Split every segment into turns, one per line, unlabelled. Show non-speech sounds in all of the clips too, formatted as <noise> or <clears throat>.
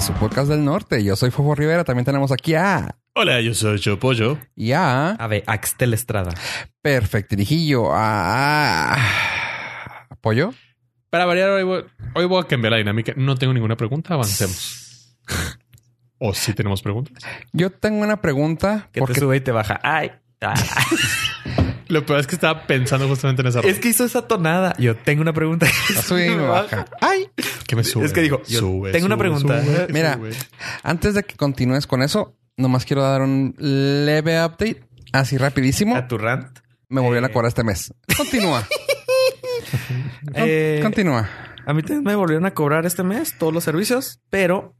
su podcast del norte. Yo soy Fofo Rivera. También tenemos aquí a.
Hola, yo soy Chopollo.
Y a.
A ver, Axtel Estrada.
Perfectirijillo. A. ¿Pollo?
Para variar, hoy voy, hoy voy a cambiar la dinámica. No tengo ninguna pregunta, avancemos. <laughs> ¿O sí tenemos preguntas?
Yo tengo una pregunta.
Que te sube y te baja. Ay.
<laughs>
ah.
Lo peor es que estaba pensando justamente en esa
es que hizo esa tonada. Yo tengo
<laughs>
una pregunta.
Sube y me
<laughs>
baja. ¡Ay!
que me sube.
es que dijo, yo tengo una pregunta.
Mira.
sube.
Antes de que continúes con eso, nomás quiero dar un leve update. Así rapidísimo.
A tu rant.
Me volvió la
Eh.
cuerda este mes.
<laughs>
Continúa. Con-
Eh.
Continúa.
A mí también me volvieron a cobrar este mes todos los servicios, pero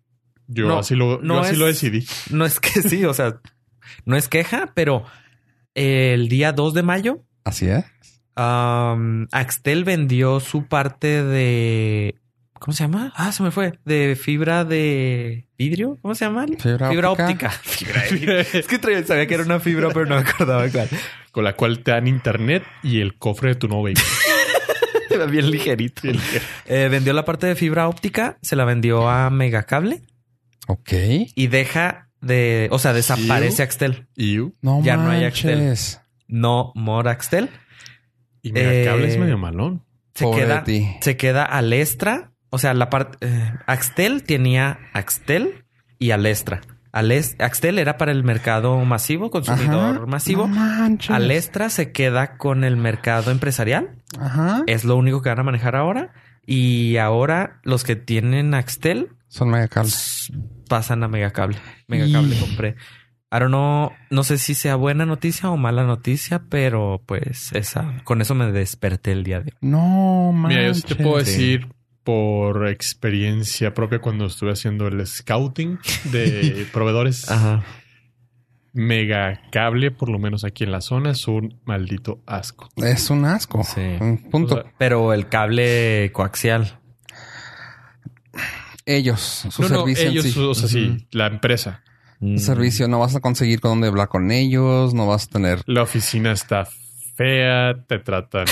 Yo
No,
así, lo, yo
no
así
es-
lo decidí.
no es que <laughs> sí, o sea, no es queja, pero el día 2 de mayo
Así ¿eh? es.
Am, Axtel vendió su parte de. ¿Cómo se llama? Ah, se me fue. De fibra de vidrio. ¿Cómo se llama?
Fibra óptica.
Fibra de vidrio. <laughs> es que tra- sabía que era una fibra, pero no me acordaba cuál.
Con la cual te dan internet y el cofre de tu nuevo vehículo.
Era bien ligerito. Eh, vendió la parte de fibra óptica, se la vendió a Megacable
Ok.
y deja de. O sea, desaparece Axtel.
<laughs> y y
No
Ya no hay
manches.
No more Axtel.
Megacable
Eh,
es medio malón.
Se
Pobre
queda.
de ti.
se queda Alestra. O sea, la parte. eh, Axtel tenía Axtel y Alestra. Ales- Axtel era para el mercado masivo, consumidor
Ajá. Ah,
masivo. este.
No manches.
Alestra se queda con el mercado empresarial.
Ajá.
Es lo único que van a manejar ahora. Y ahora los que tienen Axtel
Son mega cables.
s- pasan a Megacable. Megacable
Y-
compré. Ahora no, no sé si sea buena noticia o mala noticia, pero pues esa, con eso me desperté el día de hoy.
No manches.
Mira, yo sí te
Sí.
puedo decir por experiencia propia cuando estuve haciendo el scouting <laughs> de proveedores.
Ajá.
Mega cable, por lo menos aquí en la zona, es un maldito asco.
Es un asco.
Sí.
Un punto.
O sea,
Pero el cable coaxial.
ellos, su
no, no,
servicio. en
ellos,
sí.
o sea, sí,
Ujú.
la empresa.
Mm.
Su servicio. No vas a conseguir con dónde hablar con ellos. No vas a tener.
La oficina está fea, te <laughs> tratan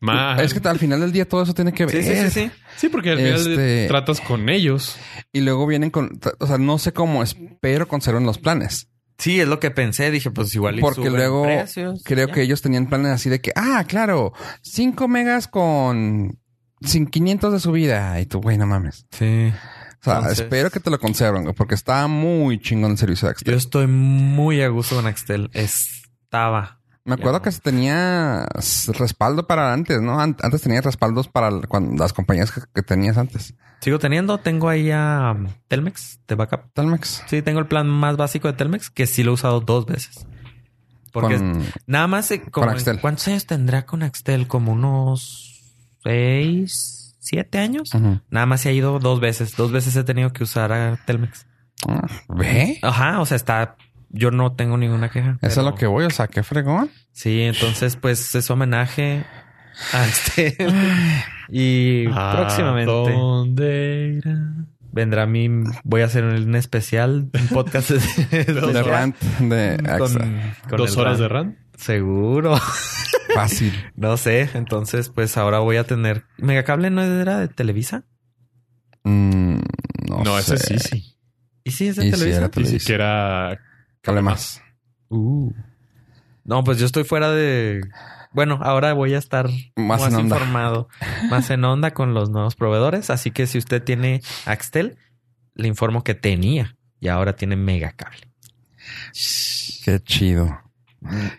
mal.
Es que al final del día todo eso tiene que ver.
Sí, sí, sí, sí.
sí, porque al final
este-
tratas con ellos.
Y luego vienen con. O sea, no sé cómo. Espero conserven los planes.
Sí, es lo que pensé. Dije, pues igual. y
Porque
suben
luego
precios,
Creo
ya.
que ellos tenían planes así de que, ah, claro, 5 megas con sin 500 de subida. Y tú, güey, no mames.
Sí.
O sea,
Entonces-
espero que te lo conserven, güey, porque está muy chingón el servicio de
Yo
Axtel.
estoy muy a gusto con Axtel. Estaba.
Me acuerdo
yo-
que tenía respaldo para antes, ¿no? An- Antes tenía respaldos para l- cuando- las compañías que, que tenías antes.
Sigo teniendo. Tengo ahí a um, Telmex de backup.
Telmex.
Sí, tengo el plan más básico de Telmex que sí lo he usado dos veces. Porque
Con-
nada más. eh, como-
Axtel.
¿Cuántos años tendrá con Axtel? Como unos seis, siete años.
Ujú.
Nada más he ido dos veces. Dos veces he tenido que usar a Telmex.
Ah, ¿Ve?
Ajá, o sea, está. Yo no tengo ninguna queja.
Eso es
pero-
lo que voy, o sea, qué fregón.
Sí, entonces, pues es homenaje a este. <laughs> y
Ah,
próximamente
¿Dónde
vendrá mi. Voy a hacer un especial, un podcast de,
De eh, rant de
Con,
Axtel.
con
Dos
el
horas de
rant.
rand.
Seguro. <laughs>
Fácil.
No sé. Entonces, pues ahora voy a tener. Megacable no era de Televisa.
Mm, no,
No,
sé.
ese sí, sí.
Y sí, es de
Y sí,
Televisa.
era
Ni
Televisa.
siquiera
Cable más.
No, pues yo estoy fuera de. Bueno, ahora voy a estar
Más en onda.
informado, más en onda con los nuevos proveedores. Así que si usted tiene Axtel, le informo que tenía y ahora tiene Mega Cable.
Qué chido.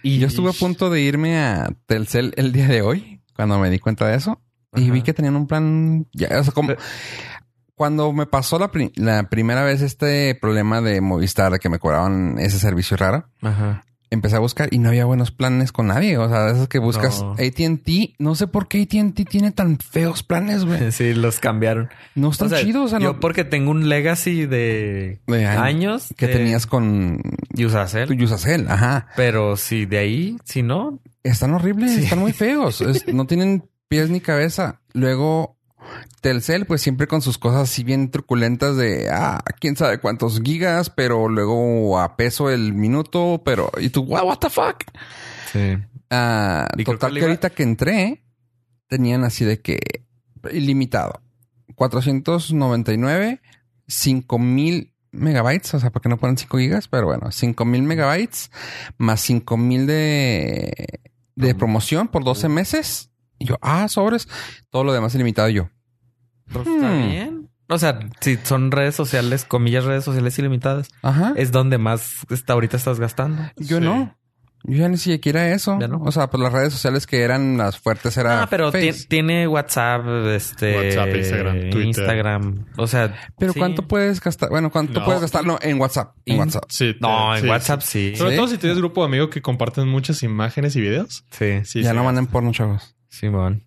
Y yo estuve a punto de irme a Telcel el día de hoy, cuando me di cuenta de eso. Y
Ajá.
vi que tenían un plan... Ya, o sea, como-
Pero-
Cuando me pasó la, pri- la primera vez este problema de Movistar, de que me cobraban ese servicio raro,
Ajá. <laughs>
empecé a buscar y no había buenos planes con nadie. O sea, de esos que buscas
No.
AT&T. No sé por qué AT&T tiene tan feos planes, güey.
Sí, los cambiaron.
No están
<laughs> O sea,
chidos. O sea,
yo
no-
porque tengo un legacy de
de años
años
que
de-
tenías con
y Usacell.
Yusacel. Ajá.
Pero si de ahí, si no,
Están horribles,
Sí.
están muy feos. Es- no tienen pies ni cabeza. Luego, Telcel, pues siempre con sus cosas así bien truculentas de ah, quién sabe cuántos gigas, pero luego a peso el minuto, pero y tú, wow, what the fuck.
sí.
Ah,
Y creo
total
que
que,
le iba-
ahorita que entré, tenían así de que ilimitado. 499 5 mil megabytes, o sea, porque no ponen 5 gigas, pero bueno, 5 mil megabytes más 5 mil de, de
Mm.
promoción por 12 meses. Y yo, ah, sobres, todo lo demás ilimitado. Y yo,
Pues, Está
Hmm.
bien. O sea, si son redes sociales, comillas, redes sociales ilimitadas,
ajá,
es donde más está, ahorita estás gastando.
yo
sí.
no. Yo ya ni siquiera eso.
Ya no.
O sea, pues las redes sociales que eran las fuertes era.
Ah, pero
Face.
ti- tiene WhatsApp, este.
WhatsApp, Instagram, Twitter.
Instagram. O sea.
Pero
sí.
cuánto puedes gastar, bueno, cuánto
No.
puedes gastar, no, en WhatsApp, en
In-
WhatsApp.
Sí, te-
No, en
sí,
WhatsApp
sí.
sí.
Sobre
Sí.
todo si tienes grupo de amigos que comparten muchas imágenes y videos.
Sí,
Sí,
ya
sí.
no mandan porno, chavos.
Simón.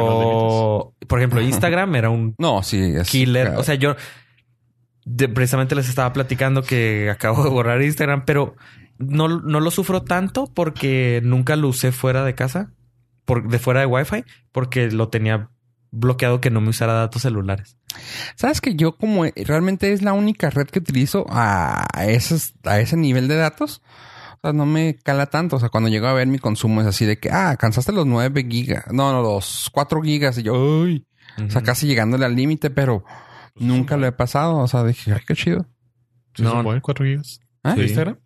O, por ejemplo, Instagram era un
No, sí, es
killer.
cada-
O sea, yo de- precisamente les estaba platicando que acabo de borrar Instagram, pero no, no lo sufro tanto porque nunca lo usé fuera de casa, por, de fuera de Wi-Fi, porque lo tenía bloqueado que no me usara datos celulares.
Sabes que yo como realmente es la única red que utilizo a, esos- a ese nivel de datos, o sea, no me cala tanto. O sea, cuando llego a ver mi consumo es así de que, ah, alcanzaste los 9 gigas, no, no, los 4 gigas y yo, uy, o sea,
Ujú.
casi llegándole al límite, pero nunca lo he pasado. O sea, dije, ay, qué chido.
no.
No.
¿Cuatro gigas?
¿Eh?
¿De Instagram?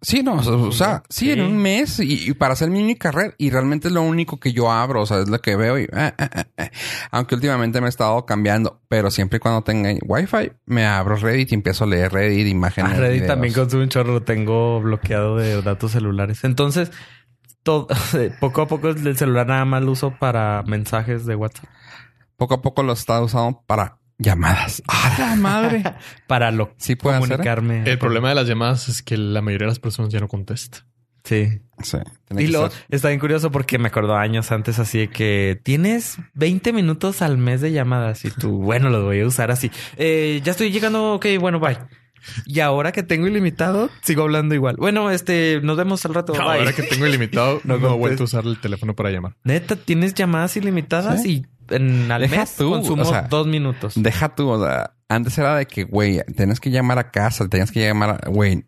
Sí, no, o sea, o sea, sí, en
Sí.
un mes y, y para ser mi única red y realmente es lo único que yo abro, o sea, es lo que veo y eh, eh, eh, eh. aunque últimamente me he estado cambiando, pero siempre y cuando tenga wifi me abro Reddit y empiezo a leer Reddit, imágenes.
Ah, Reddit
videos.
también consume un chorro, lo tengo bloqueado de datos celulares. Entonces, todo, <laughs> poco a poco el celular nada más lo uso para mensajes de WhatsApp.
poco a poco lo he estado usando para
<laughs>
llamadas. ¡A la madre!
Para lo
Sí puede hacer. ¿eh?
comunicarme.
El problema de las llamadas es que la mayoría de las personas ya no contesta.
Sí.
Sí, tiene
Y
que
lo
ser.
está bien curioso porque me acuerdo años antes así de que tienes 20 minutos al mes de llamadas
<laughs>
y tú, bueno, los voy a usar así. Eh, ya estoy llegando, ok, bueno, bye. Y ahora que tengo ilimitado, sigo hablando igual. Bueno, este, nos vemos al rato. bye.
Ahora que tengo ilimitado,
<laughs> No
no,
contesta.
he vuelto a usar el teléfono para llamar.
Neta, tienes llamadas ilimitadas y en, al
Deja
mes
tú,
consumo
o sea,
dos minutos.
Deja tú, o sea, antes era de que, güey, tenías que llamar a casa, tenías que llamar a, güey,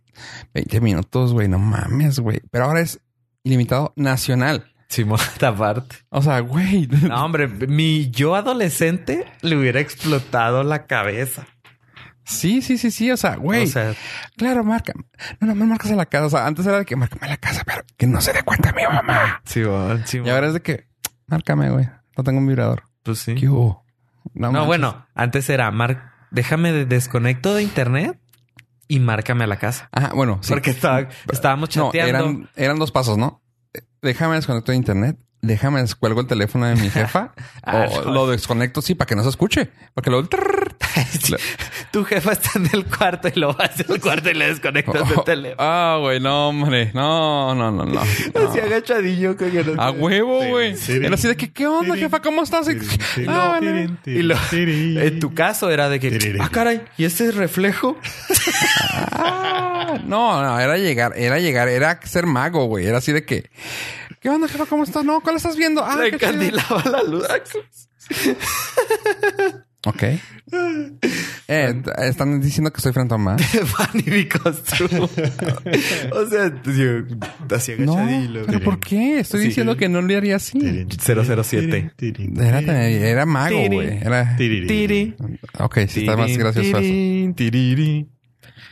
20 minutos, güey, no mames, güey. Pero ahora es ilimitado nacional. <laughs>
Simón, aparte.
O sea, güey. <laughs>
No, hombre, mi yo adolescente le hubiera explotado la cabeza.
Sí, sí, sí, sí. O sea, güey.
O sea,
claro, marca. No, no, me marcas a la casa. O sea, antes era de que márcame a la casa, pero que no se dé cuenta mi mamá.
Simón, Simón.
Y ahora es de que márcame, güey. No tengo un vibrador.
Pues sí.
¿Qué hubo?
No,
manches.
bueno, antes era Mark, déjame de desconecto de internet y márcame a la casa.
Ajá, bueno. Sí.
Porque estaba- estábamos
No,
chateando.
eran, eran dos pasos, ¿no? Eh, Déjame desconecto de internet. Déjame descuelgo el teléfono de
<laughs>
mi jefa.
Ah,
o
no. <laughs>
lo desconecto, sí, para que no se escuche. Porque luego... <laughs>
Tu jefa está en el cuarto y lo vas al cuarto y le
<laughs>
desconectas el teléfono.
Ah, güey, no, hombre. No, no,
<laughs>
no, no.
Así agachadillo, coño. no
A
sé.
huevo,
Tirin,
Ah, güey.
tirin.
Era así de que, ¿qué onda,
Tirin,
jefa? ¿Cómo estás?
tirin,
<laughs>
tirin,
Ah,
tirin,
bueno.
tirin,
Y lo-
tirin.
En tu caso era de que, ah, caray, ¿y ese reflejo?
Ah, No, no, era llegar, era llegar, era ser mago, güey. Era así de que, ¿qué onda, jefa? ¿Cómo estás? No, ¿cuál estás viendo? Ah,
Le
qué chido.
encandilaba la luz.
Ah,
<laughs>
Ok. Eh, están diciendo que soy
<laughs>
frentomada.
Fanny because true. o sea, yo, así
No,
agachadillo.
¿pero ¿por qué? Estoy
Sí.
diciendo que no le haría así.
Tirin,
007.
tirin, tirin,
Era, era mago,
Tirin.
güey. Era...
tirin,
Tiri.
Ok, sí, está más gracioso eso.
Tirin, tiriri.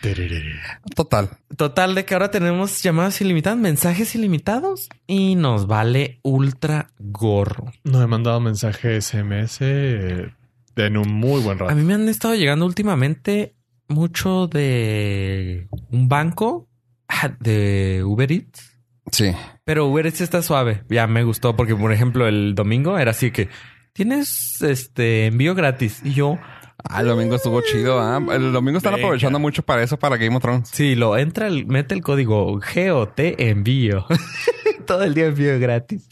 tirin.
Total.
Total, de que ahora tenemos llamadas ilimitadas, mensajes ilimitados y nos vale ultra gorro.
No he mandado mensaje SMS eh, en un muy buen
A
rato.
mí me han estado llegando últimamente mucho de un banco ah, de Uber Eats.
Sí.
Pero Uber Eats está suave. Ya me gustó porque, por ejemplo, el domingo era así que tienes este envío gratis. Y yo,
Ah, el domingo estuvo chido. ¿ah? El domingo están
Venga.
aprovechando mucho para eso, para Game of Thrones.
sí, lo entra, el- mete el código GOT envío. <laughs> Todo el día envío gratis.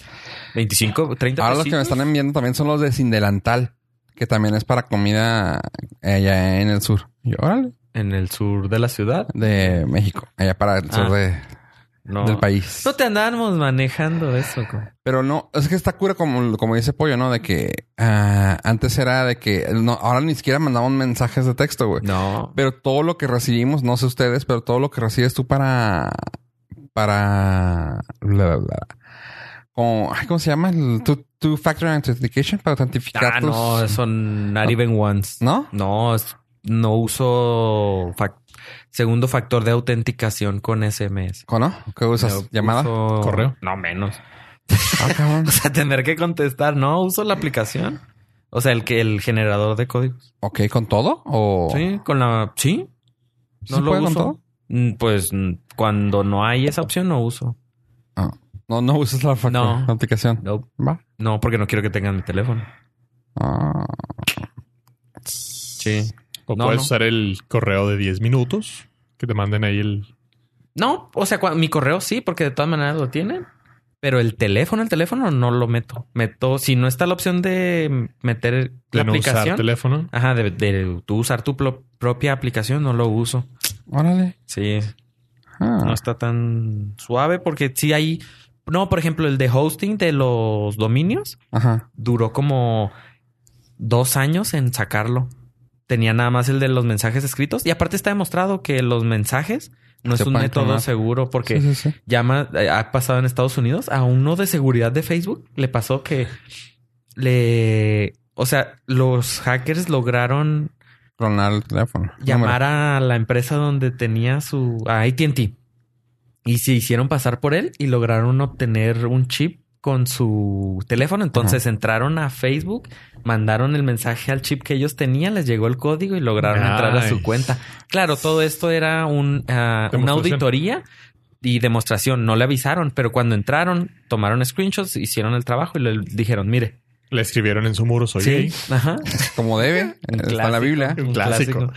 25, 30
Ahora los que me
pesitos.
están enviando también son los de Sin Delantal, que también es para comida eh, allá en el sur. Y órale,
en el sur de la ciudad.
de México, allá para el sur
Ah.
de-
No.
del país.
No te andábamos manejando eso. co.
Pero no, es que está cura como, como dice Pollo, ¿no? De que ah, antes era de que no, ahora ni siquiera mandamos mensajes de texto, güey.
No.
Pero todo lo que recibimos, no sé ustedes, pero todo lo que recibes tú para. Para. Bla, bla, bla. Como, ay, ¿Cómo se llama? El- Tu, tu Factor Authentication para autentificar
Ah,
tus-
no, son not even ones.
¿No?
No, es no uso fac- segundo factor de autenticación con SMS.
¿O no? ¿Qué usas?
Yo
¿Llamada?
uso-
¿Correo?
No, menos.
Ah, cabrón.
<laughs> O sea, tener que contestar. No, uso la aplicación. O sea, el que el generador de códigos.
Ok, ¿con todo? ¿O
Sí, con la... Sí.
Oh. ¿Sí puede con todo?
Mm, Pues mm, cuando no hay esa opción, no uso.
No, no usas la, fac-
No.
la aplicación.
No,
Va.
no, porque no quiero que tengan mi teléfono.
Ah,
Sí.
O
No,
puedes
no.
usar el correo de 10 minutos que te manden ahí el.
No, o sea, cua- mi correo sí, porque de todas maneras lo tienen. Pero el teléfono, el teléfono no lo meto. Meto, si no está la opción de meter
de
la
no usar
aplicación.
teléfono.
Ajá, de, de tú usar tu plo- propia aplicación, no lo uso.
órale.
Sí,
Ah,
no está tan suave porque sí hay... No, por ejemplo, el de hosting de los dominios
Ajá.
duró como dos años en sacarlo. Tenía nada más el de los mensajes escritos. Y aparte está demostrado que los mensajes no
Se
es un
pueden
método
clonar.
seguro porque
Sí, sí, sí.
llama, eh, ha pasado en Estados Unidos, a uno de seguridad de Facebook le pasó que le, o sea, los hackers lograron
Clonar el teléfono.
llamar a la empresa donde tenía su, a AT&T y se hicieron pasar por él y lograron obtener un chip con su teléfono. Entonces entraron a Facebook, mandaron el mensaje al chip que ellos tenían, les llegó el código y lograron entrar a su
Nice.
cuenta. Claro, todo esto era un, ah, una
Demostración.
auditoría y demostración. No le avisaron, pero cuando entraron, tomaron screenshots, hicieron el trabajo y le dijeron, mire.
Le escribieron en su muro, soy gay.
Ajá.
Como
<laughs>
debe.
Un
Está en la
clásico.
Biblia.
Un clásico.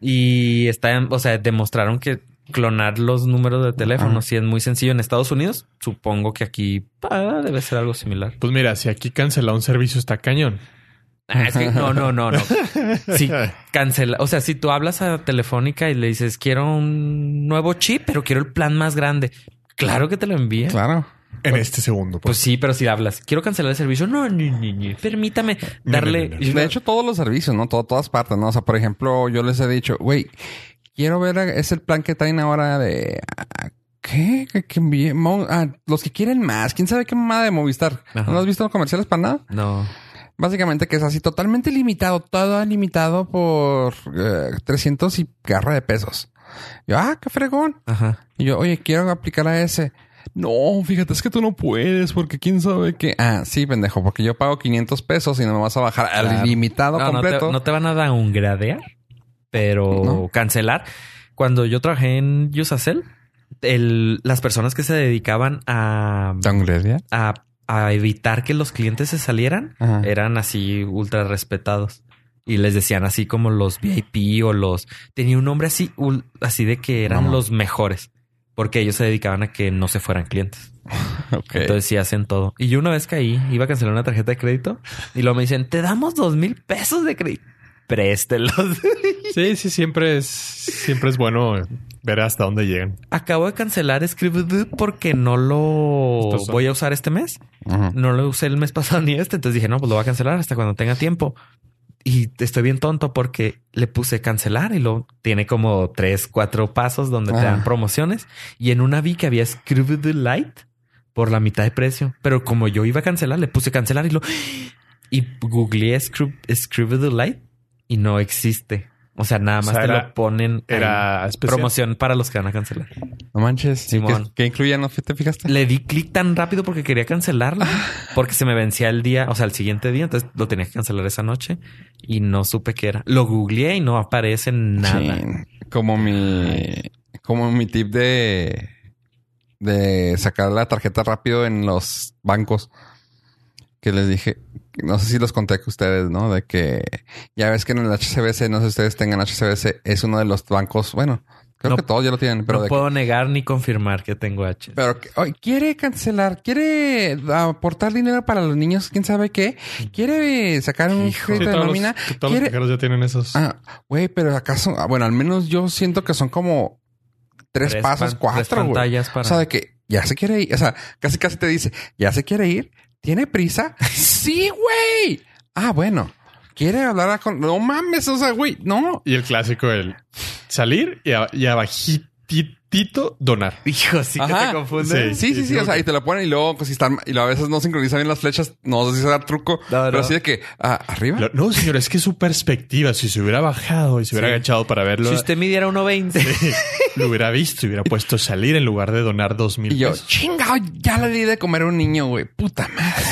Y está, o sea, demostraron que clonar los números de teléfono
Ajá.
sí es muy sencillo en Estados Unidos. Supongo que aquí ah, debe ser algo similar.
Pues mira, si aquí cancela un servicio está cañón.
Ah, es que- no, no, no, no. Sí, cancela. O sea, si tú hablas a Telefónica y le dices, quiero un nuevo chip, pero quiero el plan más grande. Claro que te lo envía.
Claro.
<laughs> En este segundo.
Pues
Pues,
sí, pero si hablas, quiero cancelar el servicio. No, ni, ni, ni. Permítame
no,
darle.
no,
De hecho, todos los servicios, ¿no? Todo- todas partes, ¿no? O sea, por ejemplo, yo les he dicho, güey, quiero ver, a- es el plan que traen ahora de... ah, ¿Qué? ¿Qué, qué envié? Mo- ah, los que quieren más. ¿Quién sabe qué mamada de Movistar?
Ajá.
¿No has visto los comerciales para nada?
no.
Básicamente que es así, totalmente limitado, todo limitado por eh, 300 y garra de pesos. Yo, ah, qué fregón.
Ajá.
Y yo, oye, quiero aplicar a ese. No, fíjate, es que tú no puedes porque quién sabe qué. Ah, sí, pendejo, porque yo pago 500 pesos y no me vas a bajar
Claro.
al limitado
No, no te,
completo.
no te van a downgradear, pero
No.
cancelar. Cuando yo trabajé en Usacell, el- las personas que se dedicaban a,
¿Downgrade, ya?
a- a evitar que los clientes se salieran
Ajá.
eran así ultra respetados. Y les decían así como los VIP o los... Tenía un nombre así, ul- así de que eran
Mamá.
los mejores. Porque ellos se dedicaban a que no se fueran clientes.
Ok.
Entonces sí hacen todo. Y yo una vez caí, iba a cancelar una tarjeta de crédito y luego me dicen, te damos dos mil pesos de crédito. Préstelos. <laughs>
sí, sí, siempre es, siempre es bueno ver hasta dónde llegan.
Acabo de cancelar Scribd porque no lo
Esto son-
voy a usar este mes.
Ajá.
No lo usé el mes <laughs> pasado ni este. Entonces dije, no, pues lo voy a cancelar hasta cuando tenga tiempo. Y estoy bien tonto porque le puse cancelar y lo tiene como tres, cuatro pasos donde te
Ah.
dan promociones. Y en una vi que había Scribd Light por la mitad de precio. Pero como yo iba a cancelar, le puse cancelar y lo... <gasps> Y googleé Scrib- Scribd Light y no existe. O sea, nada
O
más
sea,
te
era-
lo ponen ahí.
Era especial.
promoción para los que van a cancelar.
No manches. ¿Y
Simón.
¿Qué, qué incluían? ¿No te fijaste?
Le di clic tan rápido porque quería cancelarlo,
<laughs>
porque se me vencía el día, o sea, el siguiente día, entonces lo tenía que cancelar esa noche y no supe qué era. Lo googleé y no aparece nada.
Chin. Como mi... Como mi tip de... De sacar la tarjeta rápido en los bancos. Que les dije... No sé si los conté que ustedes, ¿no? De que... Ya ves que en el HCBC, no sé si ustedes tengan HCBC, es uno de los bancos... Bueno, creo
No-
que todos ya lo tienen, pero...
no
de que-
puedo negar ni confirmar que tengo H.
Pero que- oye, quiere cancelar, quiere aportar dinero para los niños, quién sabe qué, quiere sacar un
Hijo.
Sí,
crédito de
todos
nómina,
los, todos los
quiere-
cajeros ya tienen esos.
Ah, güey, pero acaso, ah, bueno, al menos yo siento que son como tres, pasos,
pan- tres
cuatro, güey.
pantallas para...
O sea, de que ya se quiere ir, o sea, casi casi te dice, ya se quiere ir, tiene prisa. sí, güey. Ah, bueno, quiere hablar a con, no mames, o sea, güey, no.
Y el clásico, el salir y, a- y abajito Ti- Tito Donar.
<laughs> Hijo, sí
Ajá.
que te confunde.
Sí, sí, sí. O sea, y te la ponen y luego, pues, si están, y luego a veces no sincronizan bien las flechas, no sé si será truco, pero
no.
así de que, ah, arriba.
Lo- No, señor, es que su perspectiva, si se hubiera bajado y se hubiera
Sí.
agachado para verlo,
Si usted midiera 1.20.
lo hubiera visto y hubiera puesto salir en lugar de donar dos mil
Y yo,
pesos.
chingado, ya le di de comer a un niño, güey. Puta madre.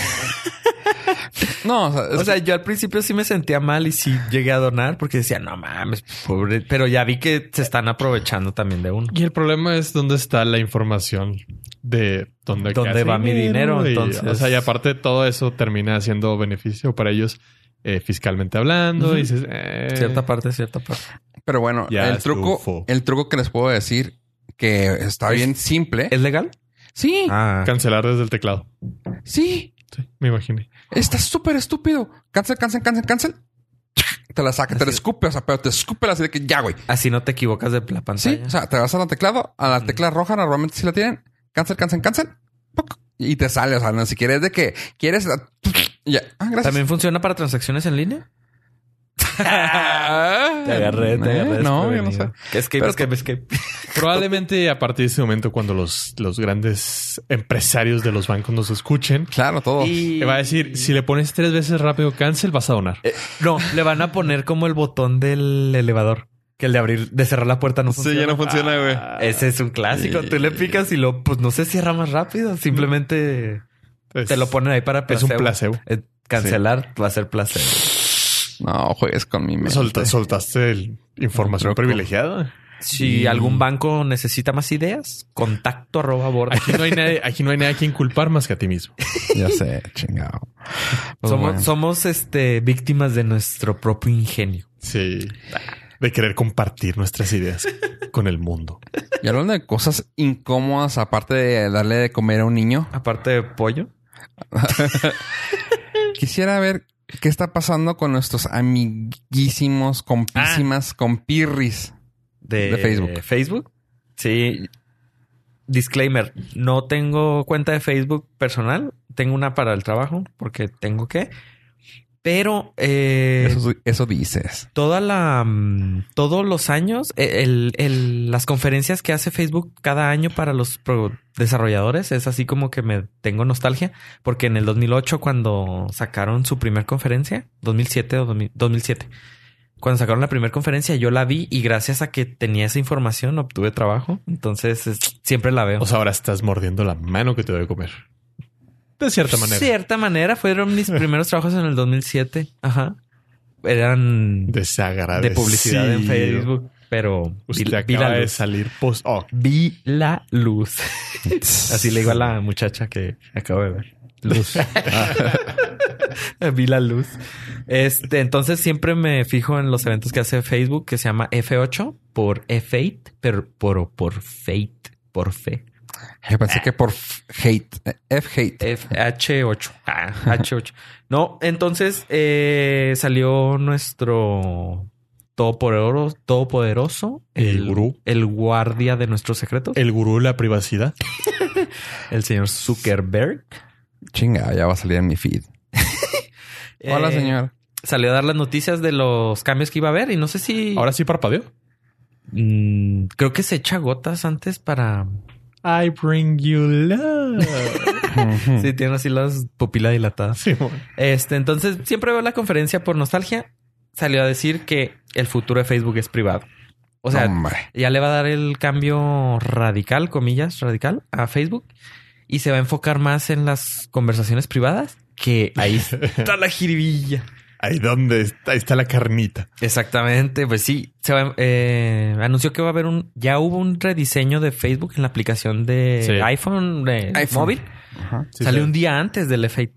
no, o sea, es
O sea, yo al principio sí me sentía mal y sí llegué a donar porque decía, no mames, pobre. Pero ya vi que se están aprovechando también de uno.
Y el problema es dónde está la información de dónde, queda
¿Dónde
ese
va mi dinero,
y-
entonces?
o sea, y aparte todo eso termina siendo beneficio para ellos eh, fiscalmente hablando.
Ujú.
y dices, eh,
Cierta parte, cierta parte.
Pero bueno,
Ya
el truco,
estufo.
el truco que les puedo decir que está bien simple.
¿Es legal?
sí,
Ah.
cancelar desde el teclado.
sí,
Sí, me imaginé.
está súper estúpido. Cancel, cancel, cancel, cancel. Te la saca, te la escupe, o sea, pero te escupe así de que ya, güey.
Así no te equivocas de la
Sí,
pantalla.
o sea, te vas a la teclado, a la tecla roja, normalmente si la tienen, cancel, cancel, cancel, poc, y te sale. O sea, no, si quieres de que quieres, ah, ya, ah, gracias.
¿También funciona para transacciones en línea?
Ah, eh, No, yo no sé.
Escape,
Pero-
escape, escape.
Probablemente a partir de ese momento, cuando los, los grandes empresarios de los bancos nos escuchen,
Claro, todo.
te va a decir: si le pones tres veces rápido cancel, vas a donar.
Eh, no, le van a poner como el botón del elevador. Que el de abrir, de cerrar la puerta no funciona.
funciona, güey.
Ah,
Eh,
Ese es un clásico. Tú le picas y lo, pues no se cierra más rápido. Simplemente
Es-
te lo ponen ahí para
Es un
placebo.
placebo.
Eh, cancelar va a ser placer.
No juegues con mi mente.
Solta- soltaste el- información
Loco.
privilegiada.
Si
Y-
algún banco necesita más ideas, contacto arroba borda.
Aquí no hay nadie, aquí no hay nadie a quien culpar más que a ti mismo.
Ya sé, chingado. Pues
somos,
bueno.
somos este víctimas de nuestro propio ingenio.
Sí. De querer compartir nuestras ideas con el mundo.
Y hablando de cosas incómodas, aparte de darle de comer a un niño,
Aparte de pollo.
quisiera ver qué está pasando con nuestros amiguísimos, compísimas,
Ah.
compirris.
de,
De Facebook.
Facebook. Sí. Disclaimer, no tengo cuenta de Facebook personal, tengo una para el trabajo porque tengo que. Pero eh,
Eso, eso dices.
toda la mm, todos los años eh, el- el- las conferencias que hace Facebook cada año para los pro- desarrolladores es así como que me tengo nostalgia porque en el 2008 cuando sacaron su primer conferencia 2007 o 2000 2007 cuando sacaron la primera conferencia yo la vi y gracias a que tenía esa información obtuve trabajo entonces es- siempre la veo
O sea, ahora estás mordiendo la mano que te debe comer. De cierta manera.
cierta manera fueron mis primeros trabajos en el 2007 ajá eran de
Desagradable.
publicidad en Facebook, pero vi,
Usted
vi
acaba
la
de
luz.
salir post. Oh,
Vi la luz. <laughs> Así le digo
<laughs>
a la muchacha que acabo de ver. Luz.
<laughs>
vi la luz. Este, entonces siempre me fijo en los eventos que hace Facebook que se llama F8 por F8, pero por, por Fate, por fe.
Yo
Eh.
pensé que por f- hate, eh, F hate.
H8. Ah,
<laughs>
H8. No, entonces eh, salió nuestro todopoderoso, todopoderoso
El gurú. Eh.
el guardia de nuestros secretos, el,
el gurú de la privacidad.
señor Zuckerberg.
Chinga, ya va a salir en mi feed. Hola,
Eh,
señor. <laughs>
Salió a dar las noticias de los cambios que iba a haber y no sé si.
<laughs> Ahora sí parpadeó.
Mm, creo que se echa gotas antes para.
I bring you love.
Sí, tiene así las pupilas dilatadas.
<laughs> Sí, bueno.
Este, entonces siempre veo la conferencia por nostalgia. Salió a decir que el futuro de Facebook es privado. O sea,
Hombre.
ya le va a dar el cambio radical, comillas, radical a Facebook y se va a enfocar más en las conversaciones privadas que
<laughs>
ahí está la jiribilla.
<laughs> Ahí donde está, ahí está la carnita.
Exactamente, pues sí. Se va, eh, anunció que va a haber un, ya hubo un rediseño de Facebook en la aplicación de
Sí.
iPhone, de
iPhone.
móvil.
Ajá.
Sí,
Salió
sí.
un día antes del F8.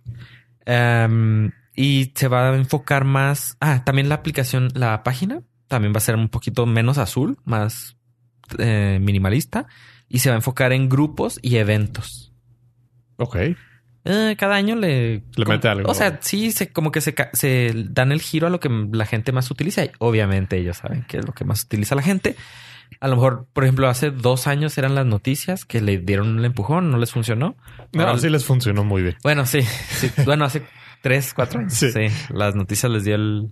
Em, y se va a enfocar más. Ah, también la aplicación, la página también va a ser un poquito menos azul, más eh, minimalista. Y se va a enfocar en grupos y eventos.
Ok.
Eh, cada año le.
Le
como-
mete algo.
O sea, sí, se, como que se, ca- se dan el giro a lo que la gente más utiliza. Y obviamente ellos saben que es lo que más utiliza la gente. A lo mejor, por ejemplo, hace dos años eran las noticias que le dieron el empujón, no les funcionó.
No,
Ahora-
sí les funcionó muy bien.
bueno, sí,
<laughs>
sí. Bueno, hace tres, cuatro años.
Sí.
Sí. Las noticias les dio el.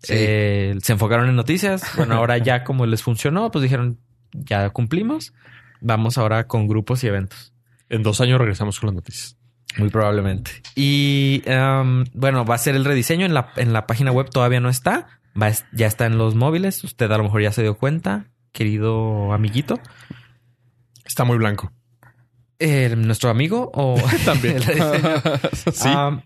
Sí.
eh, se enfocaron en noticias. Bueno, ahora ya como les funcionó, pues dijeron, ya cumplimos. Vamos ahora con grupos y eventos.
En dos años regresamos con las noticias.
Muy probablemente. Y em, bueno, va a ser el rediseño en la, en la página web. Todavía no está. Va a es- ya está en los móviles. Usted a lo mejor ya se dio cuenta, querido amiguito.
Está muy blanco.
Eh, Nuestro amigo o <laughs>
También. <laughs>
el rediseño.
sí.
Am,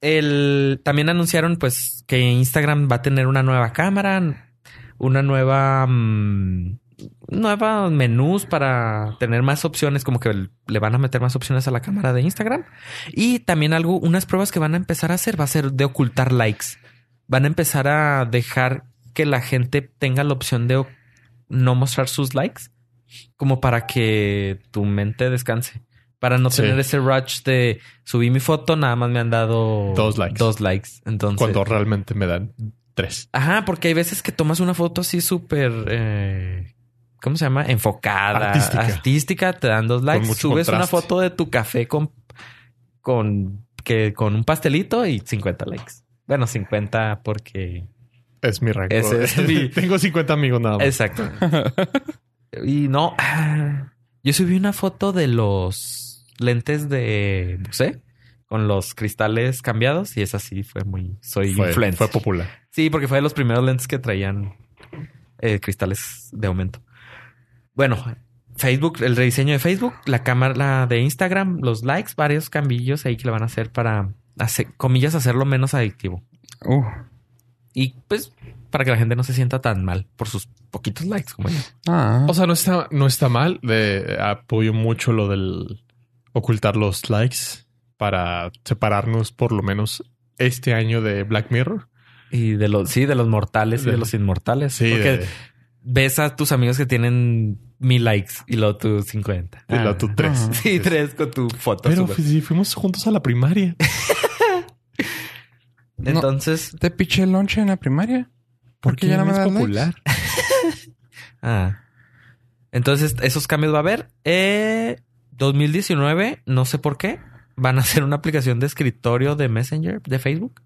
el, también anunciaron pues que Instagram va a tener una nueva cámara, una nueva mm, nueva menús para tener más opciones, como que le van a meter más opciones a la cámara de Instagram. Y también algo, unas pruebas que van a empezar a hacer va a ser de ocultar likes. Van a empezar a dejar que la gente tenga la opción de o- no mostrar sus likes, como para que tu mente descanse. Para no
Sí.
tener ese rush de subí mi foto, nada más me han dado
Dos likes.
Dos likes. Entonces,
Cuando realmente me dan tres.
Ajá, porque hay veces que tomas una foto así súper. eh, ¿Cómo se llama? Enfocada.
Artística.
Artística. te dan dos likes.
mucho
Subes una
contraste.
foto de tu café con. con. que con un pastelito y 50 likes. Bueno, 50 porque.
Es mi rango. <laughs>
Ese es mi-
Tengo 50 amigos nada más.
Exacto. <laughs> y no. <sighs> ah, Yo subí una foto de los lentes de Bose con los cristales cambiados y esa sí fue muy. Soy
fue,
influencer.
fue popular.
Sí, porque fue de los primeros lentes que traían eh, cristales de aumento. Bueno, Facebook, el rediseño de Facebook, la cámara de Instagram, los likes, varios cambillos ahí que le van a hacer para, hacer, comillas, hacerlo menos adictivo.
Uh.
Y pues para que la gente no se sienta tan mal por sus poquitos likes como yo.
Ah.
O sea, no está, no está mal. De, apoyo mucho lo del ocultar los likes para separarnos por lo menos este año de Black Mirror.
Y de los, sí, de los mortales y de los inmortales.
Sí,
porque
de-
ves a tus amigos que tienen mil likes y luego tú 50.
de la tu tres.
Ah.
<laughs> Sí, tres con tu foto.
Pero pues,
súper.
si fuimos juntos a la primaria.
no.
Entonces,
¿Te piché el lonche en la primaria? ¿Por qué ya no me
es
das
popular?
Ah. Entonces, esos cambios va a haber. Eh, 2019, no sé por qué, van a hacer una aplicación de escritorio de Messenger de Facebook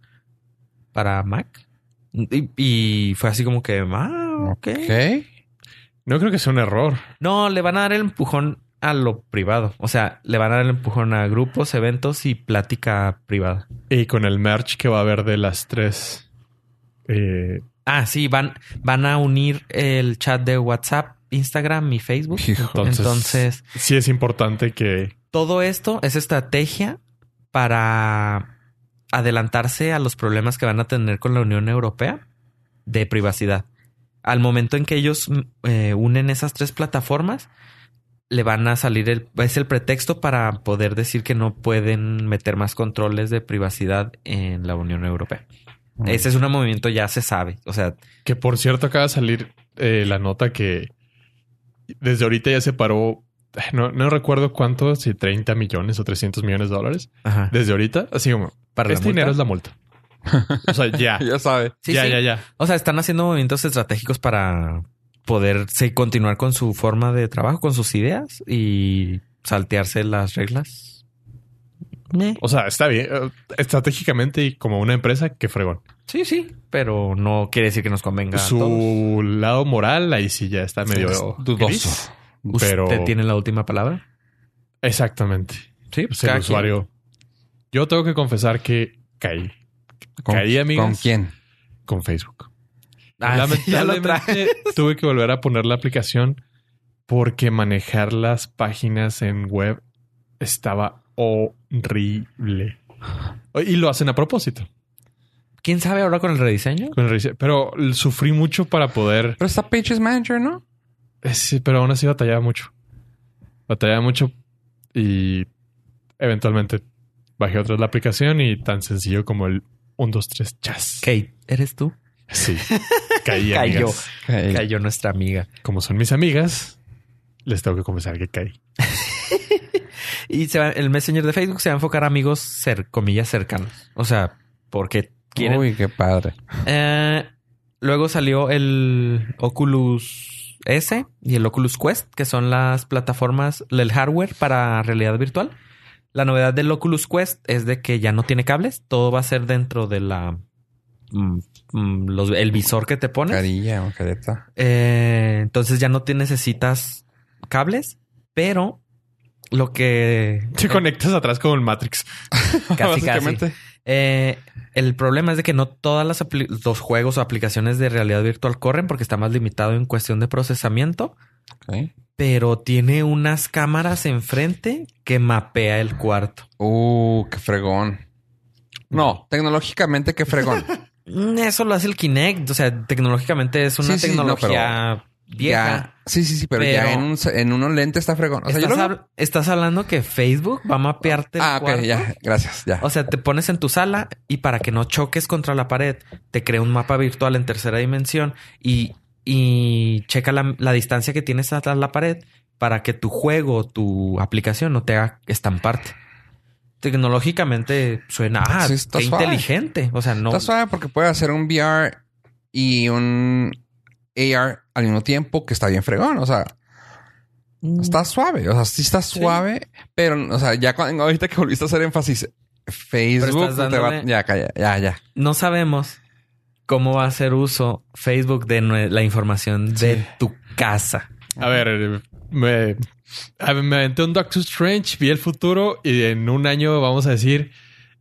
para Mac. Y, y fue así como que, ah, ok.
Ok.
No creo que sea un error.
No, le van a dar el empujón a lo privado. O sea, le van a dar el empujón a grupos, eventos y plática privada.
Y con el merch que va a haber de las tres. eh,
Ah, sí, van, van a unir el chat de WhatsApp, Instagram y Facebook.
Hijo.
entonces,
Entonces
sí es importante que
todo esto es estrategia para adelantarse a los problemas que van a tener con la Unión Europea de privacidad. Al momento en que ellos mm, eh, unen esas tres plataformas, le van a salir el es el pretexto para poder decir que no pueden meter más controles de privacidad en la Unión Europea. Ese es un movimiento ya se sabe, o sea,
Que por cierto acaba de salir eh, la nota que desde ahorita ya se paró, ay, no, no recuerdo cuánto, si 30 millones o 300 millones de dólares.
ajá,
Desde ahorita, así como,
para la
este dinero
multa.
es la multa. <laughs> O sea, ya,
<laughs> Ya sabe.
Sí,
ya,
sí.
ya, ya.
O sea, están haciendo movimientos estratégicos para poder sí, continuar con su forma de trabajo, con sus ideas y saltearse las reglas. Eh,
O sea, está bien, eh, estratégicamente y como una empresa, que fregón.
Sí, sí, pero no quiere decir que nos convenga. a todos.
Su lado moral ahí sí ya está medio
Es dudoso.
gris. pero-
¿Usted tiene la última palabra?
Exactamente.
Sí,
Pues
cada
el
quien.
usuario. Yo tengo que confesar que caí Caí, amigas.
¿Con quién?
con Facebook. <laughs>
Ah, sí, ya lo trae.
Lamentablemente tuve que volver a poner la aplicación porque manejar las páginas en web estaba horrible. Y lo hacen a propósito.
¿Quién sabe ahora con el rediseño?
con el rediseño. Pero sufrí mucho para poder.
Pero está Pages Manager, ¿no?
eh, sí, Pero aún así batallaba mucho. Batallaba mucho y eventualmente bajé otra vez la aplicación y tan sencillo como el 1, 2, 3, chas.
Kate, ¿eres tú?
Sí. Caí.
<laughs> Cayó.
amigas.
Cayó nuestra amiga.
Como son mis amigas, les tengo que confesar que caí.
Y se va- el Messenger de Facebook se va a enfocar a amigos, cer- comillas, cercanos. O sea, porque quieren
Uy, qué padre.
Eh, luego salió el Oculus S y el Oculus Quest, que son las plataformas, el hardware para realidad virtual. La novedad del Oculus Quest es de que ya no tiene cables, todo va a ser dentro de la mm, mm, los- el visor que te pones.
Carilla o careta.
Eh, entonces ya no te necesitas cables, pero lo que
Te conectas atrás con el Matrix.
<laughs> <laughs> casi casi.
Básicamente.
Eh, el problema es de que no todas las apli- los juegos o aplicaciones de realidad virtual corren porque está más limitado en cuestión de procesamiento,
Ok.
pero tiene unas cámaras enfrente que mapea el cuarto.
Uh, qué fregón. No, tecnológicamente qué fregón.
Mm, Eso lo hace el Kinect, o sea, tecnológicamente es una
Sí, sí, no, pero
tecnología <laughs> vieja.
Ya. Sí, sí, sí, pero, ya
Pero-
en un, en uno lente está fregón. O sea, yo
estás,
lo-
hab- estás hablando que Facebook va a mapearte el
Ah, ok,
cuarto.
ya. Gracias, ya.
O sea, te pones en tu sala y para que no choques contra la pared, te crea un mapa virtual en tercera dimensión y, y checa la, la distancia que tienes atrás de la pared para que tu juego o tu aplicación no te haga estamparte. Tecnológicamente suena ah,
Sí, está
qué
suave.
inteligente. O sea, no.
Está suave porque puede hacer un VR y un AR al mismo tiempo que está bien fregón. O sea,
Mm.
está suave. O sea, sí está suave, pero, o sea, ya cuando, ahorita que volviste a hacer énfasis, Facebook
estás
te va-
dándole-
Ya, calla, ya, ya.
no sabemos cómo va a hacer uso Facebook de nue- la información de
Sí.
tu casa.
A ver, eh, me, a ver, me aventé un Doctor Strange, vi el futuro y en un año, vamos a decir,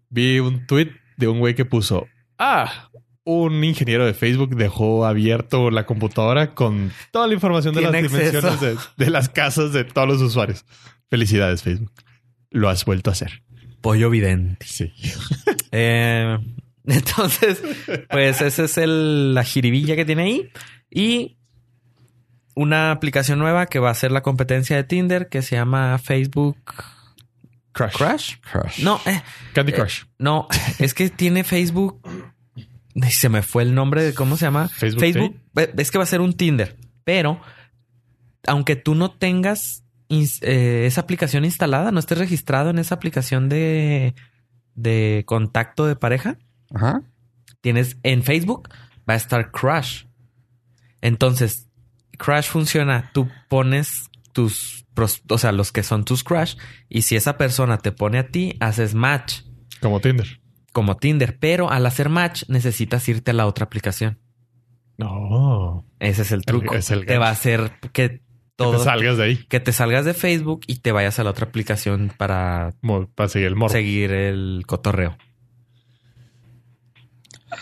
vi un tweet de un güey que puso, ah, un ingeniero de Facebook dejó abierto la computadora con toda la información de las
Tiene acceso".
dimensiones de, de las casas de todos los usuarios. Felicidades, Facebook. Lo has vuelto a hacer.
Pollo vidente.
Sí.
Eh, <laughs> entonces, pues esa es el, la jiribilla que tiene ahí. Y una aplicación nueva que va a ser la competencia de Tinder que se llama Facebook
Crush.
Crush.
Crush.
No, eh,
Candy
Eh,
Crush.
no, <laughs> es que tiene Facebook. Ay, Se me fue el nombre de cómo se llama.
Facebook
eh, Es que va a ser un Tinder, pero aunque tú no tengas ins- eh, esa aplicación instalada, no estés registrado en esa aplicación de, de contacto de pareja,
Ajá.
tienes en Facebook va a estar Crush. Entonces, Crush funciona, tú pones tus, pros- o sea, los que son tus Crush y si esa persona te pone a ti, haces match
Como Tinder.
como Tinder, pero al hacer match necesitas irte a la otra aplicación.
No.
Ese es el truco.
es el
te va a hacer que
Que
todo
te salgas de ahí
que te salgas de Facebook y te vayas a la otra aplicación para
mo- para seguir el morro.
seguir el cotorreo.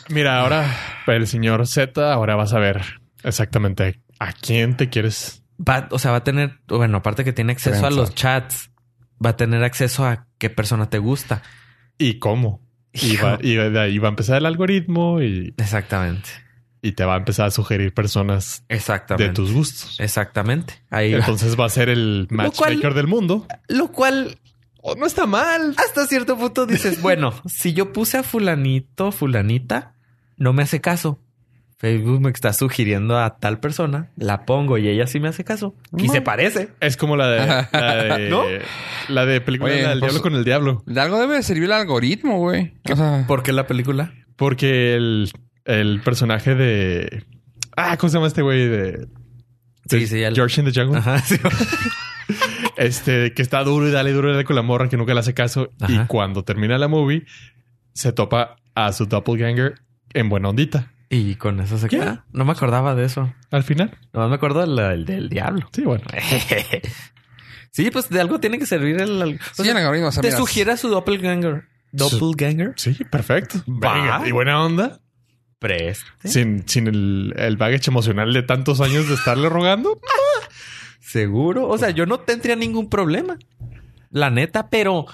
Mira, ahora el señor Z, ahora vas a ver exactamente a quién te quieres.
Va- o sea, va a tener, bueno, aparte que tiene acceso a
Trenza.
los chats, va a tener acceso a qué persona te gusta.
y cómo. Y va, y de ahí va a empezar el algoritmo y,
Exactamente.
y te va a empezar a sugerir personas de
Exactamente.
tus gustos.
Exactamente. Ahí va.
Entonces va a ser el
Lo cual-
matchmaker del mundo.
Lo cual
Oh, no está mal.
hasta cierto
<laughs>
punto dices, bueno, si yo puse a fulanito, fulanita, no me hace caso. Facebook me está sugiriendo a tal persona, la pongo y ella sí me hace caso. Y
No.
se parece.
Es como la de la
<laughs>
de,
¿No?
la de película
Oye,
del
pues-
diablo con el diablo.
De algo debe de servir el algoritmo, güey. O sea,
¿Por qué la película?
Porque el, el personaje de ah, ¿cómo se llama este güey de,
Sí,
de
sí, ya lo-
George in the Jungle?
Ajá, <laughs> sí.
Este, que está duro y dale duro y dale con la morra que nunca le hace caso.
Ajá.
Y cuando termina la movie, se topa a su doppelganger en buena ondita.
Y con eso se
¿Qué?
queda. No me acordaba de eso.
Al final.
Nomás me acuerdo del, del, del diablo.
Sí, bueno.
<laughs> sí, pues de algo tiene que servir el... al- o
sí,
sea,
el algoritmo. o sea,
te
mira,
sugiera su doppelganger. ¿Doppelganger?
Sí, perfecto.
Va.
Venga, y buena onda.
Preste.
Sin, sin el, el baggage emocional de tantos años de estarle rogando.
Seguro. O sea, yo no tendría ningún problema. La neta, pero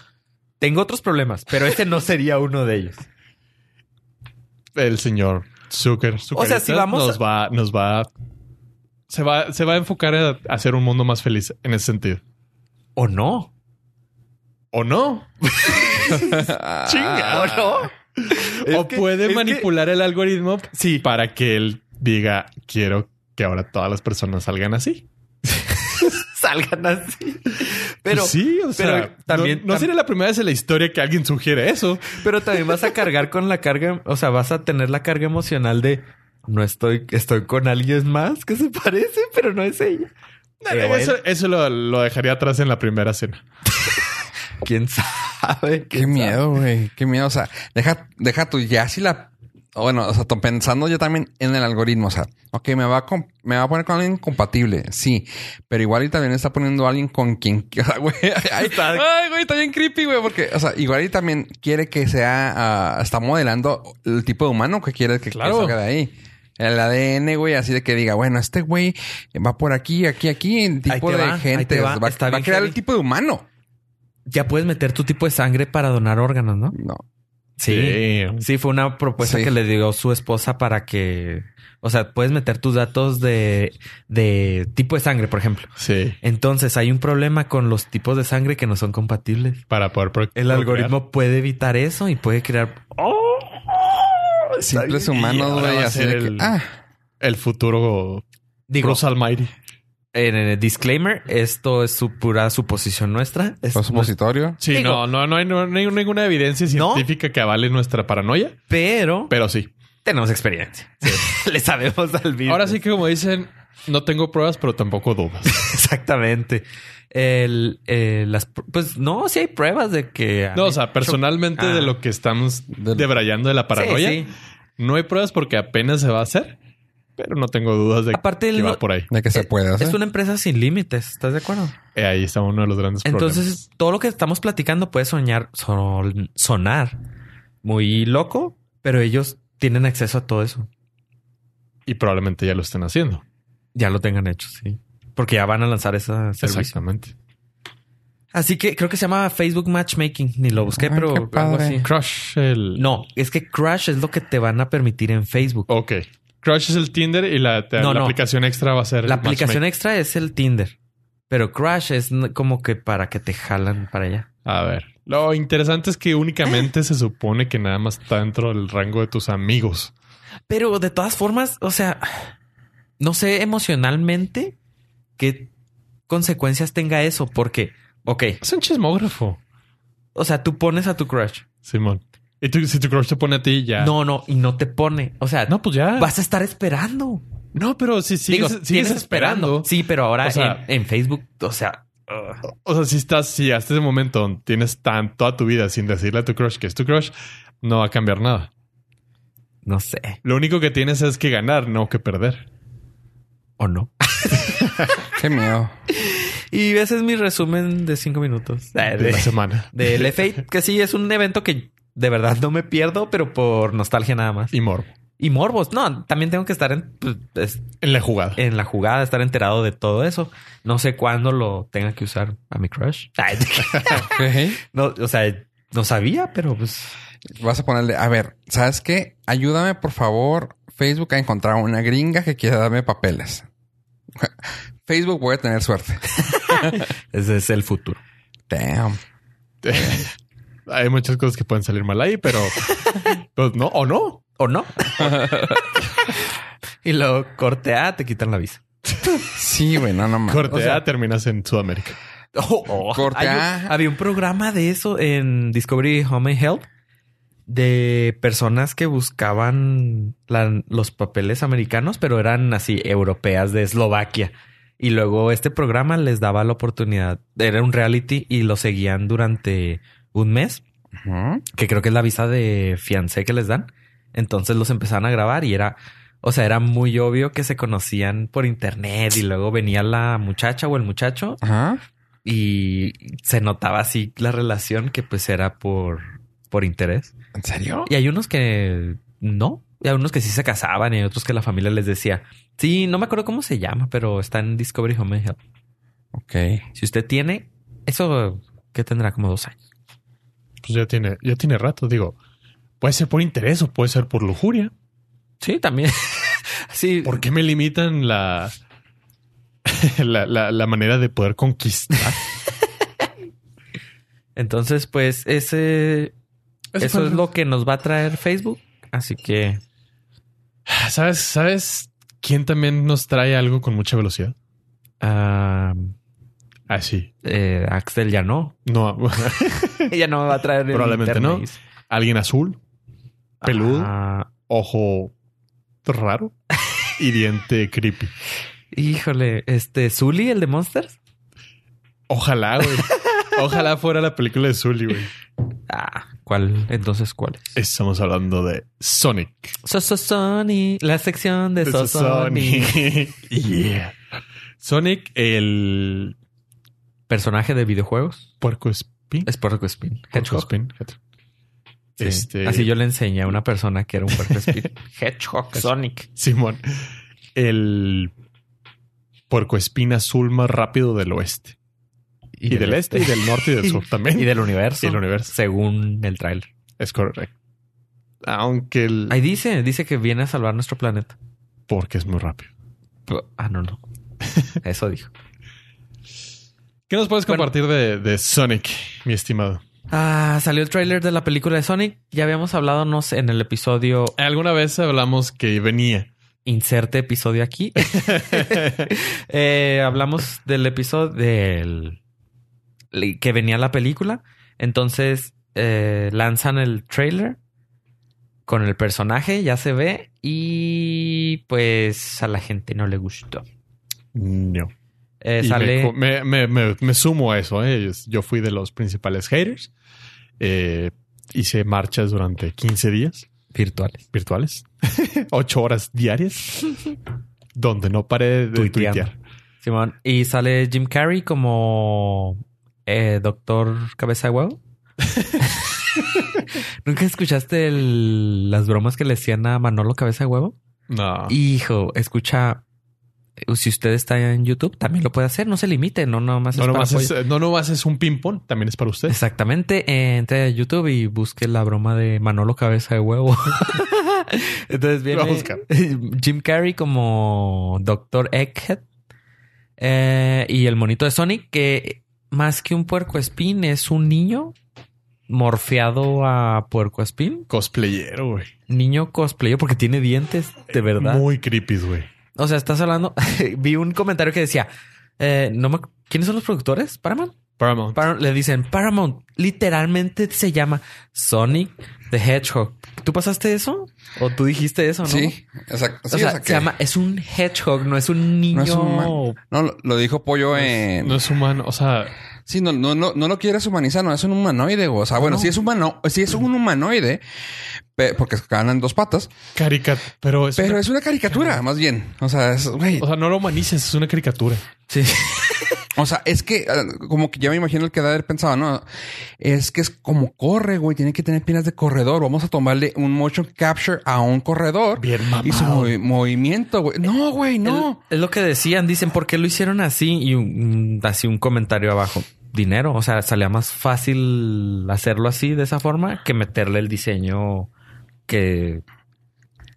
tengo otros problemas, pero este no sería uno de ellos.
El señor Zucker.
O sea, si vamos
Nos va, nos va. Se va, se va a enfocar a hacer un mundo más feliz en ese sentido.
¿O no?
¿O no?
<laughs> ah,
Chinga.
¿O no? Es
o
que- es
puede
que-
manipular el algoritmo
Sí.
para que él diga, quiero que ahora todas las personas salgan así.
Salgan así. Pero,
sí, o sea,
pero también-
no, no
tam-
sería la primera vez en la historia que alguien sugiere eso.
pero también vas a cargar con la carga, o sea, vas a tener la carga emocional de no estoy, estoy con alguien más que se parece, pero no es ella. Eh, bueno.
eso eso lo, lo dejaría atrás en la primera cena.
¿Quién sabe?
Qué
¿Quién sabe? <laughs>
miedo, güey. Qué miedo. O sea, deja, deja tu ya si la o bueno, o sea, to- pensando yo también en el algoritmo, o sea, ok, me va a, com- me va a poner con alguien compatible, sí, pero igual y también está poniendo a alguien con quien, <laughs> o sea, güey, ay,
Está-
ay, güey, está bien creepy, güey, porque, o sea, igual y también quiere que sea, ah, está modelando el tipo de humano que quiere que, que
Claro.
salga de ahí. El ADN, güey, así de que diga, bueno, este güey va por aquí, aquí, aquí, en
Ahí
tipo
te
de
va, ahí
gente,
te
va,
va,
va
está
a
bien
crear el
heavy.
tipo de humano.
Ya puedes meter tu tipo de sangre para donar órganos, ¿no?
No.
Damn.
Sí, fue una propuesta
Sí.
que le dio su esposa para que, o sea, puedes meter tus datos de, de tipo de sangre, por ejemplo.
Sí.
Entonces hay un problema con los tipos de sangre que no son compatibles.
Para poder pro-
El
procrear.
algoritmo puede evitar eso y puede crear.
Simples
bien. Y
humanos,
ahora
güey,
va a
así
ser
de que,
el-
ah,
El futuro
Digo,
Bruce Almighty.
en el disclaimer, esto es su pura suposición nuestra. Es-
fue supositorio.
Sí,
Digo-
no, no, no hay, no hay ninguna evidencia
¿No?
científica que avale nuestra paranoia,
pero
pero sí.
tenemos experiencia.
<laughs>
Le sabemos al virus.
Ahora sí que como dicen, no tengo pruebas, pero tampoco dudas.
Exactamente. El, eh, las, pr- pues no, sí hay pruebas de que.
No, o sea, personalmente
Ah.
de lo que estamos
Del-
debrayando de la paranoia,
Sí, sí.
no hay pruebas porque apenas se va a hacer, pero no tengo dudas de
Aparte,
que
el-
va por ahí.
De que se
Eh,
puede hacer.
Es una empresa sin límites, ¿estás de acuerdo?
Eh, ahí está uno de los grandes problemas.
Entonces, todo lo que estamos platicando puede soñar, son- sonar muy loco, pero ellos tienen acceso a todo eso.
Y probablemente ya lo estén haciendo.
Ya lo tengan hecho, sí. Porque ya van a lanzar esa servicio.
Exactamente.
Así que creo que se llama Facebook Matchmaking. Ni lo busqué,
Ah,
pero
qué
algo
padre.
así.
Crush el...
No, es que Crash es lo que te van a permitir en Facebook.
Ok. Crush es el Tinder y la, te-
No,
la
no.
aplicación extra va a ser...
La
el
aplicación
matchmaking.
extra es el Tinder. Pero Crash es n- como que para que te jalan para allá.
A ver. Lo interesante es que únicamente se supone que nada más está dentro del rango de tus amigos.
Pero de todas formas, o sea, no sé emocionalmente qué consecuencias tenga eso. Porque, ok,
Es un chismógrafo,
o sea, tú pones a tu crush.
Simón. Y tú- si tu crush te pone a ti, ya...
No, no, y no te pone. O sea,
No, pues ya.
vas a estar esperando.
No, pero si sigues,
Digo,
sigues
tienes
esperando.
esperando. Sí, pero ahora
O sea-
en, en Facebook, o sea, ugh.
O sea, si estás, si hasta ese momento tienes tan, toda tu vida sin decirle a tu crush que es tu crush, no va a cambiar nada.
no sé,
Lo único que tienes es que ganar, no que perder.
o no.
Qué miedo.
Y ese es mi resumen de cinco minutos. Ah,
De la
<laughs> de-
semana.
Del F8, que sí es un evento que de verdad no me pierdo, pero por nostalgia nada
<laughs>
más.
Y morbo.
Y morbos, no, también tengo que estar en, pues, es-
En la jugada.
en la jugada, estar enterado de todo eso. No sé cuándo lo tenga que usar a mi crush. <laughs> Ay,
Ok.
no, o sea, no sabía, pero pues
Vas a ponerle, a ver, ¿sabes qué? Ayúdame, por favor, Facebook, a encontrar una gringa que quiera darme papeles. <laughs> Facebook voy a tener suerte.
ese es el futuro.
Damn.
Hay muchas cosas que pueden salir mal ahí, pero
<laughs>
pues no, o no.
¿O <laughs> no? y luego corte A, te quitan la visa.
Sí, güey, no, no mames.
Corte
O sea,
A, terminas en Sudamérica.
Corte
Oh, Hay un-
A.
había un programa de eso en Discovery Home and Health de personas que buscaban la- los papeles americanos, pero eran así europeas de Eslovaquia. Y luego este programa les daba la oportunidad. Era un reality y lo seguían durante un mes,
ujú.
que creo que es la visa de fiancé que les dan. Entonces los empezaban a grabar y era, o sea, era muy obvio que se conocían por internet y luego venía la muchacha o el muchacho
Ajá.
y se notaba así la relación que pues era por, por interés.
¿En serio?
Y hay unos que no, y hay unos que sí se casaban y hay otros que la familia les decía, sí, no me acuerdo cómo se llama, pero está en Discovery Home and Health.
Ok.
Si usted tiene eso, que tendrá como dos años.
Pues ya tiene, ya tiene rato. Digo, puede ser por interés o puede ser por lujuria.
Sí, también. <laughs> sí.
¿Por qué me limitan la <laughs> la, la- la manera de poder conquistar?
Entonces, pues ese,
Ese
eso
fue
es
el-
lo que nos va a traer Facebook. Así que
¿Sabes, ¿Sabes quién también nos trae algo con mucha velocidad?
ah,
Ah, sí.
eh, Axel ya no. <laughs>
No, <laughs>
Ella no me va a traer el
Probablemente no.
internet.
alguien azul, peludo,
Ah,
ojo raro y diente creepy.
Híjole, este, Zully, el de Monsters. <laughs>
Ojalá, güey. Ojalá fuera la película de Zully, güey.
Ah, ¿Cuál? Entonces, ¿cuál es?
Estamos hablando de Sonic.
Sososoni, la sección de
Eso es
Sosoni.
Sonic. <laughs> Yeah. Sonic, el
Personaje de videojuegos.
puerco espín.
Es Puerco Spin.
Puerco
Hedgehog.
espín.
Sí.
Este,
Así yo le enseñé a una persona que era un Puerco
<laughs>
Spin. Hedgehog, Sonic.
Simón, el puerco espín azul más rápido del oeste. Y, del este, y del norte y <laughs> del sur también.
Y del universo.
Y del universo.
Según el trailer.
Es correcto. Aunque el...
Ahí dice, dice que viene a salvar nuestro planeta.
Porque es muy rápido.
Ah,
<laughs>
no, no. Eso dijo.
¿Qué nos puedes
Bueno.
compartir de, de Sonic, mi estimado?
Ah, salió el tráiler de la película de Sonic. Ya habíamos hablado no sé, en el episodio
Alguna vez hablamos que venía.
inserte episodio aquí. Eh, hablamos del episodio del le- que venía la película. Entonces eh, lanzan el trailer con el personaje, ya se ve y pues a la gente no le gustó.
no.
Eh,
Y me
sale
co- me, me- me- me sumo a eso. ¿eh? Yo- Yo fui de los principales haters. Eh, hice marchas durante 15 días
virtuales.
virtuales, <laughs> 8 horas <laughs> diarias, donde no paré de
Tuiteando.
tuitear.
Simón. Y sale Jim Carrey como eh, Doctor Cabeza de Huevo. <laughs> ¿Nunca escuchaste el- las bromas que le hacían a Manolo Cabeza de Huevo?
No.
Hijo, escucha. eh, Si usted está en YouTube, también lo puede hacer. No se limite, no nomás
no,
es para
nomás
apoyo.
es, no nomás es un ping-pong, también es para usted.
Exactamente. eh, entre a YouTube y busque la broma de Manolo Cabeza
<laughs>
de Huevo. Entonces viene
Lo voy a buscar.
<laughs> Jim Carrey como Dr. Egghead. Eh, y el monito de Sonic, que más que un puerco espín, es un niño morfeado a puerco espín.
Cosplayero, güey.
Niño cosplayo porque tiene dientes, de verdad.
Muy creepy, güey.
O sea, estás hablando. <laughs> vi un comentario que decía: eh, no me- ¿Quiénes son los productores? Paramount.
Paramount.
Param- le dicen Paramount. Literalmente se llama Sonic the Hedgehog. ¿Tú pasaste eso? ¿O tú dijiste eso? ¿no?
Sí, exacto. Sí,
o sea,
o sea que-
se llama. Es un hedgehog, no es un niño.
No es humano. No, lo, lo dijo Pollo en...
no es humano, o sea,
Sí, no, no, no, no lo quieres humanizar, no es un humanoide. güey. O sea, bueno,
No.
sí es humano, sí es un humanoide, pe- porque ganan dos patas,
caricat, pero es,
pero
una-
es una caricatura, más bien. O sea, es, güey,
o sea, no lo humanices, es una caricatura.
Sí.
O sea, es que ah, como que ya me imagino el que ha de haber pensado, no, es que es como corre, güey, tiene que tener piernas de corredor. Vamos a tomarle un motion capture a un corredor
Bien
y su
mamado.
movi- movimiento, güey. No, güey, no.
Es lo que decían. Dicen, ¿por qué lo hicieron así? Y un- mm, así un comentario abajo. Dinero. O sea, salía más fácil hacerlo así, de esa forma, que meterle el diseño que.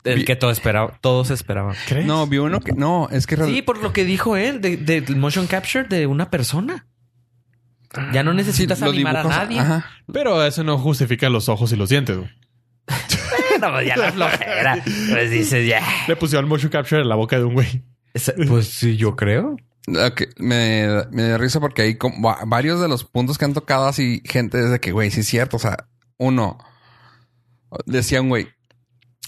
El
Vi-
que todo esperaba, todos esperaban.
¿Crees?
No, vi uno que no, es que real-
Sí, por lo que dijo él, de- del motion capture de una persona. Ya no necesitas
Ah, lo
animar a
dibujas-
nadie. <laughs>
ajá.
Pero eso no justifica los ojos y los dientes. güey.
Pero pues ya
<laughs>
la flojera. Pues dices, ya.
Le pusieron motion capture en la boca de un güey.
Esa- Pues sí, yo creo.
Ok, Ah, Me, me da risa porque hay como va- varios de los puntos que han tocado así gente desde que, güey, sí es cierto. O sea, uno, decían, güey,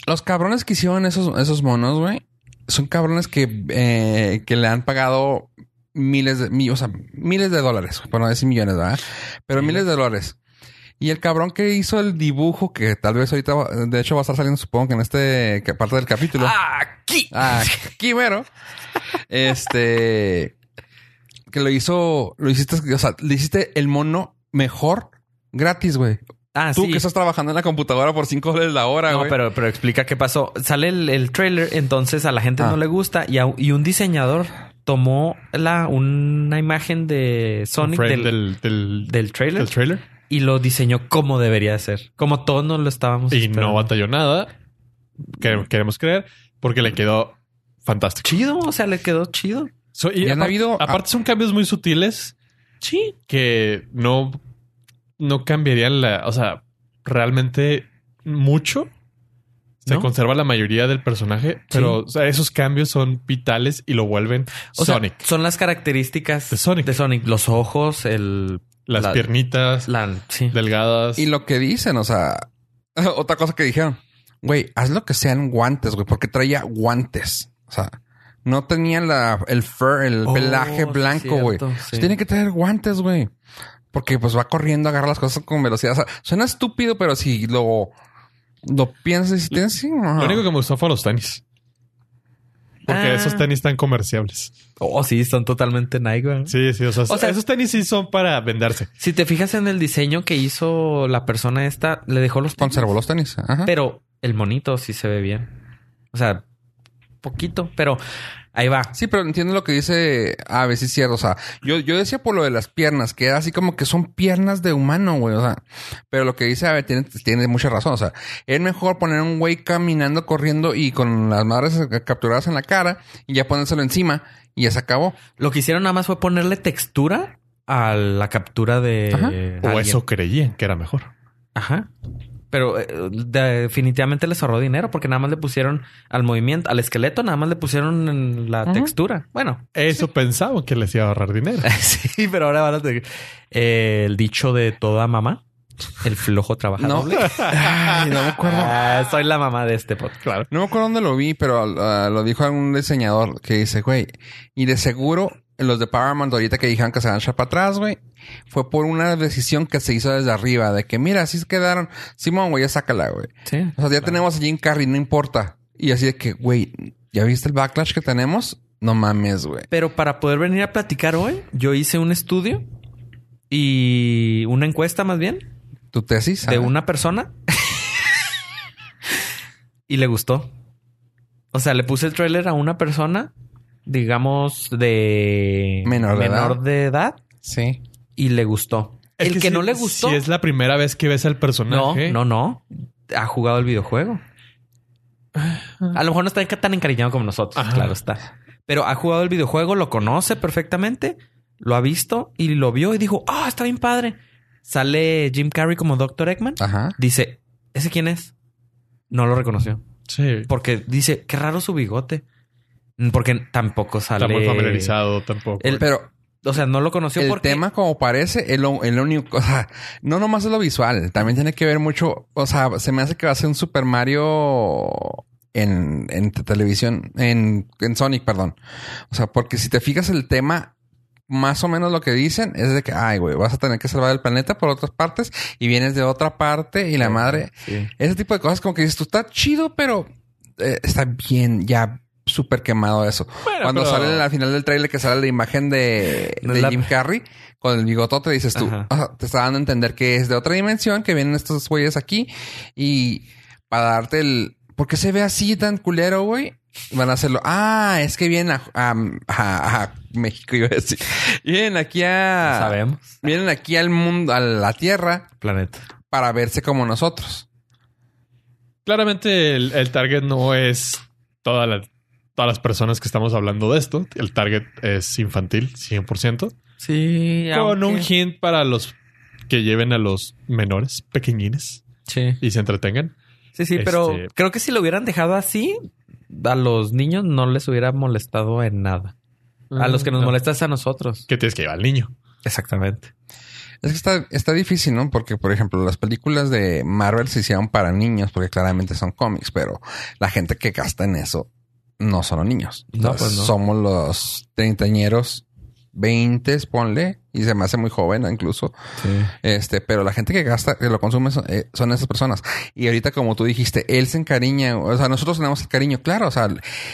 los cabrones que hicieron esos, esos monos, güey, son cabrones que, eh, que le han pagado miles de, mi- o sea, miles de dólares, por no decir millones, ¿verdad? Pero miles de dólares. Y el cabrón que hizo el dibujo, que tal vez ahorita, va- de hecho, va a estar saliendo, supongo que en este que parte del capítulo.
Aquí.
Ah, <laughs> Quimero. Este. Que lo hizo. Lo hiciste. O sea, le hiciste el mono mejor gratis, güey.
Ah,
Tú
sí.
que estás trabajando en la computadora por 5 dólares la hora,
No,
güey.
pero, pero explica qué pasó. Sale el, el trailer, entonces a la gente
Ah.
no le gusta y, a- y un diseñador tomó la, una imagen de Sonic
Friend
del,
del, del,
del trailer
del trailer.
y lo diseñó como debería de ser. Como todos nos lo estábamos
Y
esperando.
no batalló nada. Quere- Queremos creer porque le quedó fantástico.
Chido, o sea, le quedó chido.
So, y
Y han
aparte,
habido-
aparte son cambios muy sutiles
Sí.
que no, no cambiarían la, o sea, realmente mucho. Se
¿No?
conserva la mayoría del personaje, pero o sea, esos cambios son vitales y lo vuelven
O sea,
Sonic.
son las características
De Sonic.
Los ojos, el.
Las
la-
piernitas
La, sí.
delgadas.
Y lo que dicen, o sea. <laughs> Otra cosa que dijeron. Güey, haz lo que sean guantes, güey. Porque traía guantes. O sea, no tenía la, el fur, el
Oh,
pelaje
sí,
blanco, güey.
cierto, sí.
Se tiene que traer guantes, güey. Porque pues va corriendo, agarra las cosas con velocidad. O sea, suena estúpido, pero si lo, lo piensas y tienes... sí, ajá.
Lo único que me gustó fue los tenis. Porque
Ah.
esos tenis están comerciables.
Oh, sí, están totalmente Nike, güey.
Sí, sí. O sea,
sea-
esos tenis sí son para venderse.
Si te fijas en el diseño que hizo la persona esta, le dejó los tenis,
Conservó los tenis. Ajá.
Pero el monito sí se ve bien. O sea, poquito, pero ahí va.
Sí, pero entiendo lo que dice a veces cierto. O sea, yo, yo decía por lo de las piernas, que era así como que son piernas de humano, güey. O sea, pero lo que dice Abe tiene, tiene mucha razón. O sea, es mejor poner un güey caminando, corriendo y con las madres capturadas en la cara y ya ponérselo encima y ya se acabó.
Lo que hicieron nada más fue ponerle textura a la captura de.
Ajá.
O
alguien.
eso creían que era mejor.
Ajá. Pero eh, definitivamente les ahorró dinero porque nada más le pusieron al movimiento, al esqueleto, nada más le pusieron en la
Ajá.
textura. Bueno, <laughs>
Eso pensaban que les iba a ahorrar dinero.
sí, pero ahora van a tener eh, el dicho de toda mamá, el flojo
No,
trabajador.
<laughs> Ay, no me acuerdo.
<laughs> Ah, soy la mamá de este podcast.
Claro.
No me acuerdo dónde lo vi, pero ah, lo dijo algún diseñador que dice, güey, y de seguro los de Paramount ahorita que dijeron que se van a echar para atrás, güey, fue por una decisión que se hizo desde arriba, de que mira, así se quedaron, Simón, güey, ya sácala, güey.
Sí.
O sea, ya tenemos a Jim Carrey, no importa. Y así de que, güey, ¿ya viste el backlash que tenemos? No mames, güey.
Pero para poder venir a platicar hoy, yo hice un estudio y una encuesta más bien
Tu tesis.
de
ah?
una persona y le gustó. O sea, le puse el tráiler a una persona, digamos, de
Menor de edad.
de edad
Sí.
y le gustó. el que,
si-
no le gustó,
Si es la primera vez que ves al
no,
personaje.
no, no, ha jugado el videojuego. A lo mejor no está enca- tan encariñado como nosotros,
Ajá.
claro está. Pero ha jugado el videojuego, lo conoce perfectamente, lo ha visto y lo vio y dijo, ah, está bien padre. Sale Jim Carrey como Dr. Eggman.
Ajá.
Dice, ¿ese quién es? No lo reconoció.
Sí.
Porque dice, qué raro su bigote. Mm, Porque tampoco sale...
Está muy familiarizado tampoco.
El-
Pero
O sea, no lo conoció
el
porque...
tema, como parece, es lo, es lo único. <laughs> O sea, no nomás es lo visual. También tiene que ver mucho. O sea, se me hace que va a ser un Super Mario en, en te- televisión, en, en Sonic, perdón. O sea, porque si te fijas el tema, más o menos lo que dicen es de que, ay, güey, vas a tener que salvar el planeta por otras partes y vienes de otra parte y la madre.
Sí.
Ese tipo de cosas como que dices, tú está chido, pero eh, está bien, ya súper quemado eso.
Bueno,
Cuando
pero-
sale al final del trailer que sale la imagen de,
No
de
la-
Jim Carrey con el bigotote, dices tú,
Ajá.
"Ah, te está dando a entender que es de otra dimensión, que vienen estos güeyes aquí y para darte el... ¿Por qué se ve así tan culero, güey? Van a hacerlo. Ah, es que vienen a, a- a- a México, <laughs> iba a decir. Vienen aquí a...
Sabemos.
Vienen aquí al mundo, a la Tierra,
Planeta.
para verse como nosotros.
Claramente el, el target no es toda la- todas las personas que estamos hablando de esto. El target es infantil, 100%.
Sí.
Con un
aunque-
hint para los que lleven a los menores, pequeñines,
Sí.
y se entretengan.
Sí, sí, pero
Este-
creo que si lo hubieran dejado así, a los niños no les hubiera molestado en nada. A los que nos
No.
molesta es a nosotros.
Ah. Que tienes que llevar al niño.
Exactamente.
Es que está, está difícil, ¿no? Porque, por ejemplo, las películas de Marvel se hicieron para niños, porque claramente son cómics, pero la gente que gasta en eso no son los niños.
No,
Entonces,
pues no.
Somos los treintañeros, veintes, ponle, y se me hace muy joven incluso. Este, pero la gente que gasta, que lo consume son, eh, son esas personas. Y ahorita, como tú dijiste, él se encariña, o sea, nosotros tenemos el cariño, claro, o sea,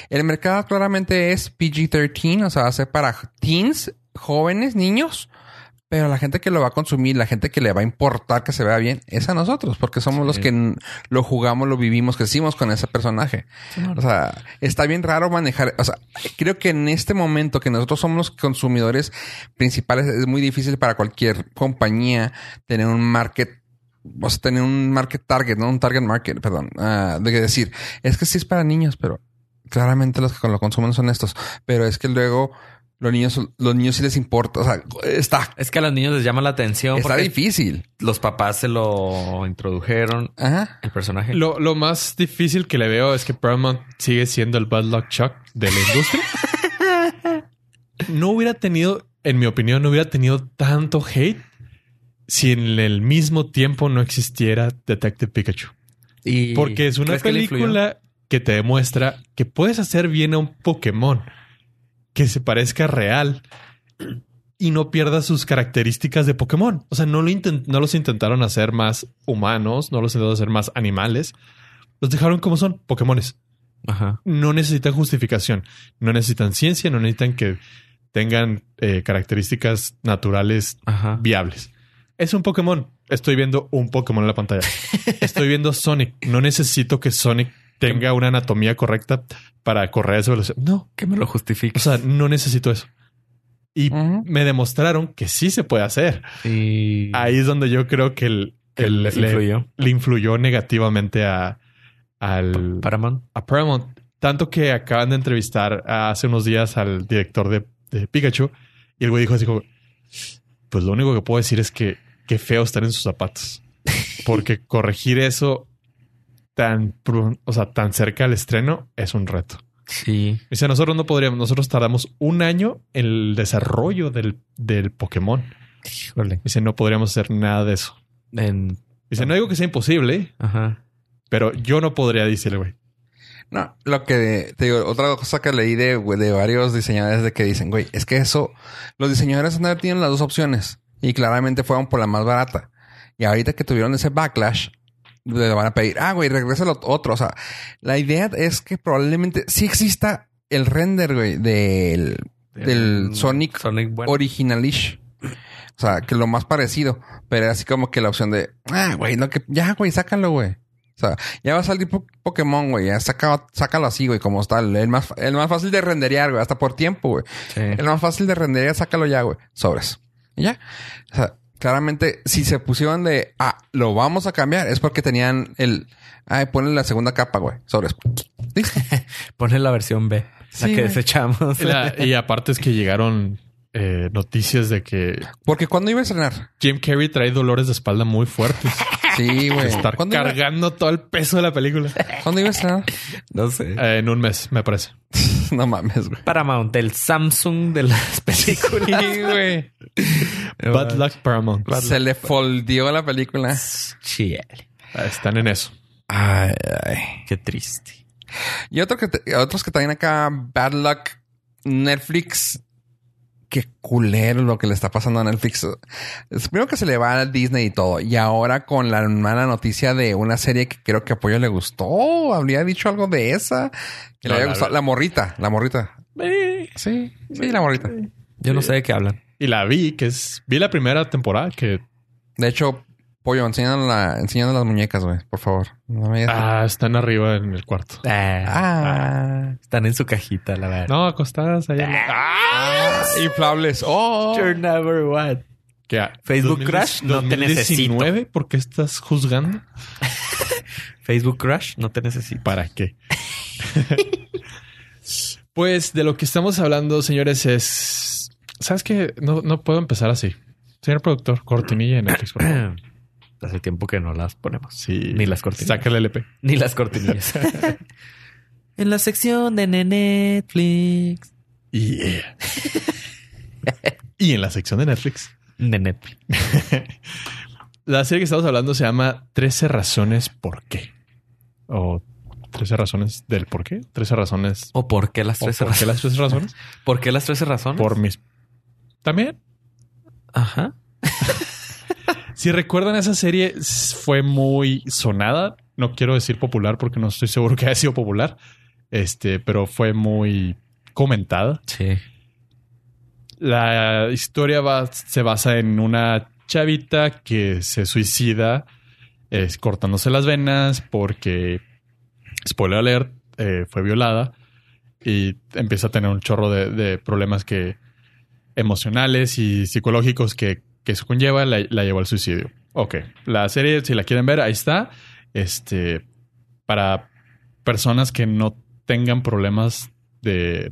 el mercado claramente es PG-13, o sea, va a ser para teens, jóvenes, niños, pero la gente que lo va a consumir, la gente que le va a importar que se vea bien, es a nosotros, porque somos
Sí.
los que n- lo jugamos, lo vivimos, crecimos con ese personaje. O sea, está bien raro manejar. O sea, creo que en este momento que nosotros somos los consumidores principales, es muy difícil para cualquier compañía tener un market. O sea, tener un market target, no un target market, perdón. ah, de que decir, es que sí es para niños, pero claramente los que lo consumen son estos. Pero es que luego los niños, los niños sí les importa. O sea, está,
Es que a los niños les llama la atención
está
porque
difícil.
los papás se lo introdujeron
Ajá.
el personaje.
Lo, lo más difícil que le veo es que Paramount sigue siendo el bad luck Chuck de la industria. No hubiera tenido, en mi opinión, no hubiera tenido tanto hate si en el mismo tiempo no existiera Detective Pikachu.
Y-
Porque es una
¿crees que le influyó?
película que te demuestra que puedes hacer bien a un Pokémon que se parezca real y no pierda sus características de Pokémon. O sea, no, lo inten- no los intentaron hacer más humanos, no los intentaron hacer más animales. Los dejaron como son, Pokémones.
Ajá.
No necesitan justificación, no necesitan ciencia, no necesitan que tengan eh, características naturales
Ajá.
viables. Es un Pokémon. Estoy viendo un Pokémon en la <laughs> pantalla. Estoy viendo Sonic. No necesito que Sonic tenga una anatomía correcta para correr a esa velocidad. No.
Que me lo justifique.
O sea, no necesito eso. Y
Ujú.
me demostraron que sí se puede hacer.
y
Ahí es donde yo creo que el,
que
el-
les
le,
influyó.
le influyó negativamente a, al,
Paramount.
a Paramount. Tanto que acaban de entrevistar hace unos días al director de, de Pikachu y el güey dijo así como, pues lo único que puedo decir es que qué feo estar en sus zapatos. Porque corregir eso tan, pr- o sea, tan cerca al estreno es un reto.
Sí.
Dice, nosotros no podríamos, nosotros tardamos un año en el desarrollo del, del Pokémon.
Híjole.
Dice, no podríamos hacer nada de eso.
En...
Dice, no digo que sea imposible,
Ajá.
pero yo no podría, dice el güey.
No, lo que te digo, otra cosa que leí de, güey, de varios diseñadores de que dicen, güey, es que eso, los diseñadores han de haber tenido las dos opciones y claramente fueron por la más barata. Y ahorita que tuvieron ese backlash, le van a pedir, ah, güey, regresa lo otro. O sea, la idea es que probablemente sí exista el render, güey, del, del
Mm,
Sonic
Sonic bueno.
originalish. O sea, que lo más parecido, pero era así como que la opción de, ah, güey, no que ya, güey, sácalo, güey. O sea, ya va a salir po- Pokémon, güey, ya saca- sácalo así, güey, como está, el más el más fácil de renderear, güey, hasta por tiempo, güey.
Sí.
El más fácil de renderear, sácalo ya, güey. Sobres. Y ya. O sea, claramente si se pusieron de, ah, lo vamos a cambiar, es porque tenían el, ay, ponle la segunda capa, güey. Sobres. Listo.
Pone la versión B.
Sí,
la que
güey.
desechamos.
Y, la-
<laughs>
y aparte es que llegaron eh, noticias de que
Porque cuando iba a estrenar.
Jim Carrey trae dolores de espalda muy fuertes.
Sí,
<laughs>
güey.
Estar
¿Cuándo iba-
cargando todo el peso de la película.
¿Cuándo iba a estrenar? <laughs>
No sé.
Eh, en un mes, me parece.
no mames, güey.
Paramount, el Samsung de <laughs> las películas. Eh,
Bad luck Paramount.
Se le foldió la película.
<laughs> Chile.
Ah, Están en eso.
Ay, ay.
Qué triste.
Y otro que te- otros que también acá, Bad Luck, Netflix. Qué culero lo que le está pasando a Netflix. Es primero que se le va a Disney y todo. Y ahora con la mala noticia de una serie que creo que a Pollo le gustó. Habría dicho algo de esa. Que
No,
le había
la-
gustado. La morrita. La morrita. Sí. Sí, la morrita.
Yo no sé de qué hablan.
Y la vi, que es... Vi la primera temporada que...
De hecho, Pollo, enséñanos la, enséñanos las muñecas, güey. Por favor. No me digas-
Ah, están arriba en el cuarto.
Ah.
Están en su cajita, la verdad.
No, acostadas allá.
Ah, Inflables. Oh.
You're number one.
¿Qué? ah,
Facebook
2000
Crash, no te
2019, ¿por qué estás juzgando?
Facebook Crush, no te necesito. <clears throat>
¿Para qué? <laughs> pues de lo que estamos hablando, señores, es... ¿Sabes qué? No, no puedo empezar así. Señor productor, cortinilla en Netflix, por favor.
Hace tiempo que no las ponemos.
<coughs> Sí.
Ni las cortinas.
Saca el LP.
Ni las cortinillas. <laughs> en la sección de Netflix.
Yeah. <laughs> y en la sección de Netflix.
De Netflix.
La serie que estamos hablando se llama 13 razones por qué. O 13 razones del por qué. 13 razones.
¿O por qué las
¿O
13
¿Por qué
razones?
las 13 razones?
¿Por qué las 13 razones?
Por mis... También.
Ajá.
Si recuerdan, esa serie s- fue muy sonada. No quiero decir popular porque no estoy seguro que haya sido popular. Este, pero fue muy comentada.
Sí.
La historia va- se basa en una chavita que se suicida es, cortándose las venas porque, spoiler alert, eh, fue violada y empieza a tener un chorro de, de problemas que emocionales y psicológicos que, que eso conlleva, la, la llevó al suicidio. Ok, la serie, si la quieren ver, ahí está. Este, para personas que no tengan problemas de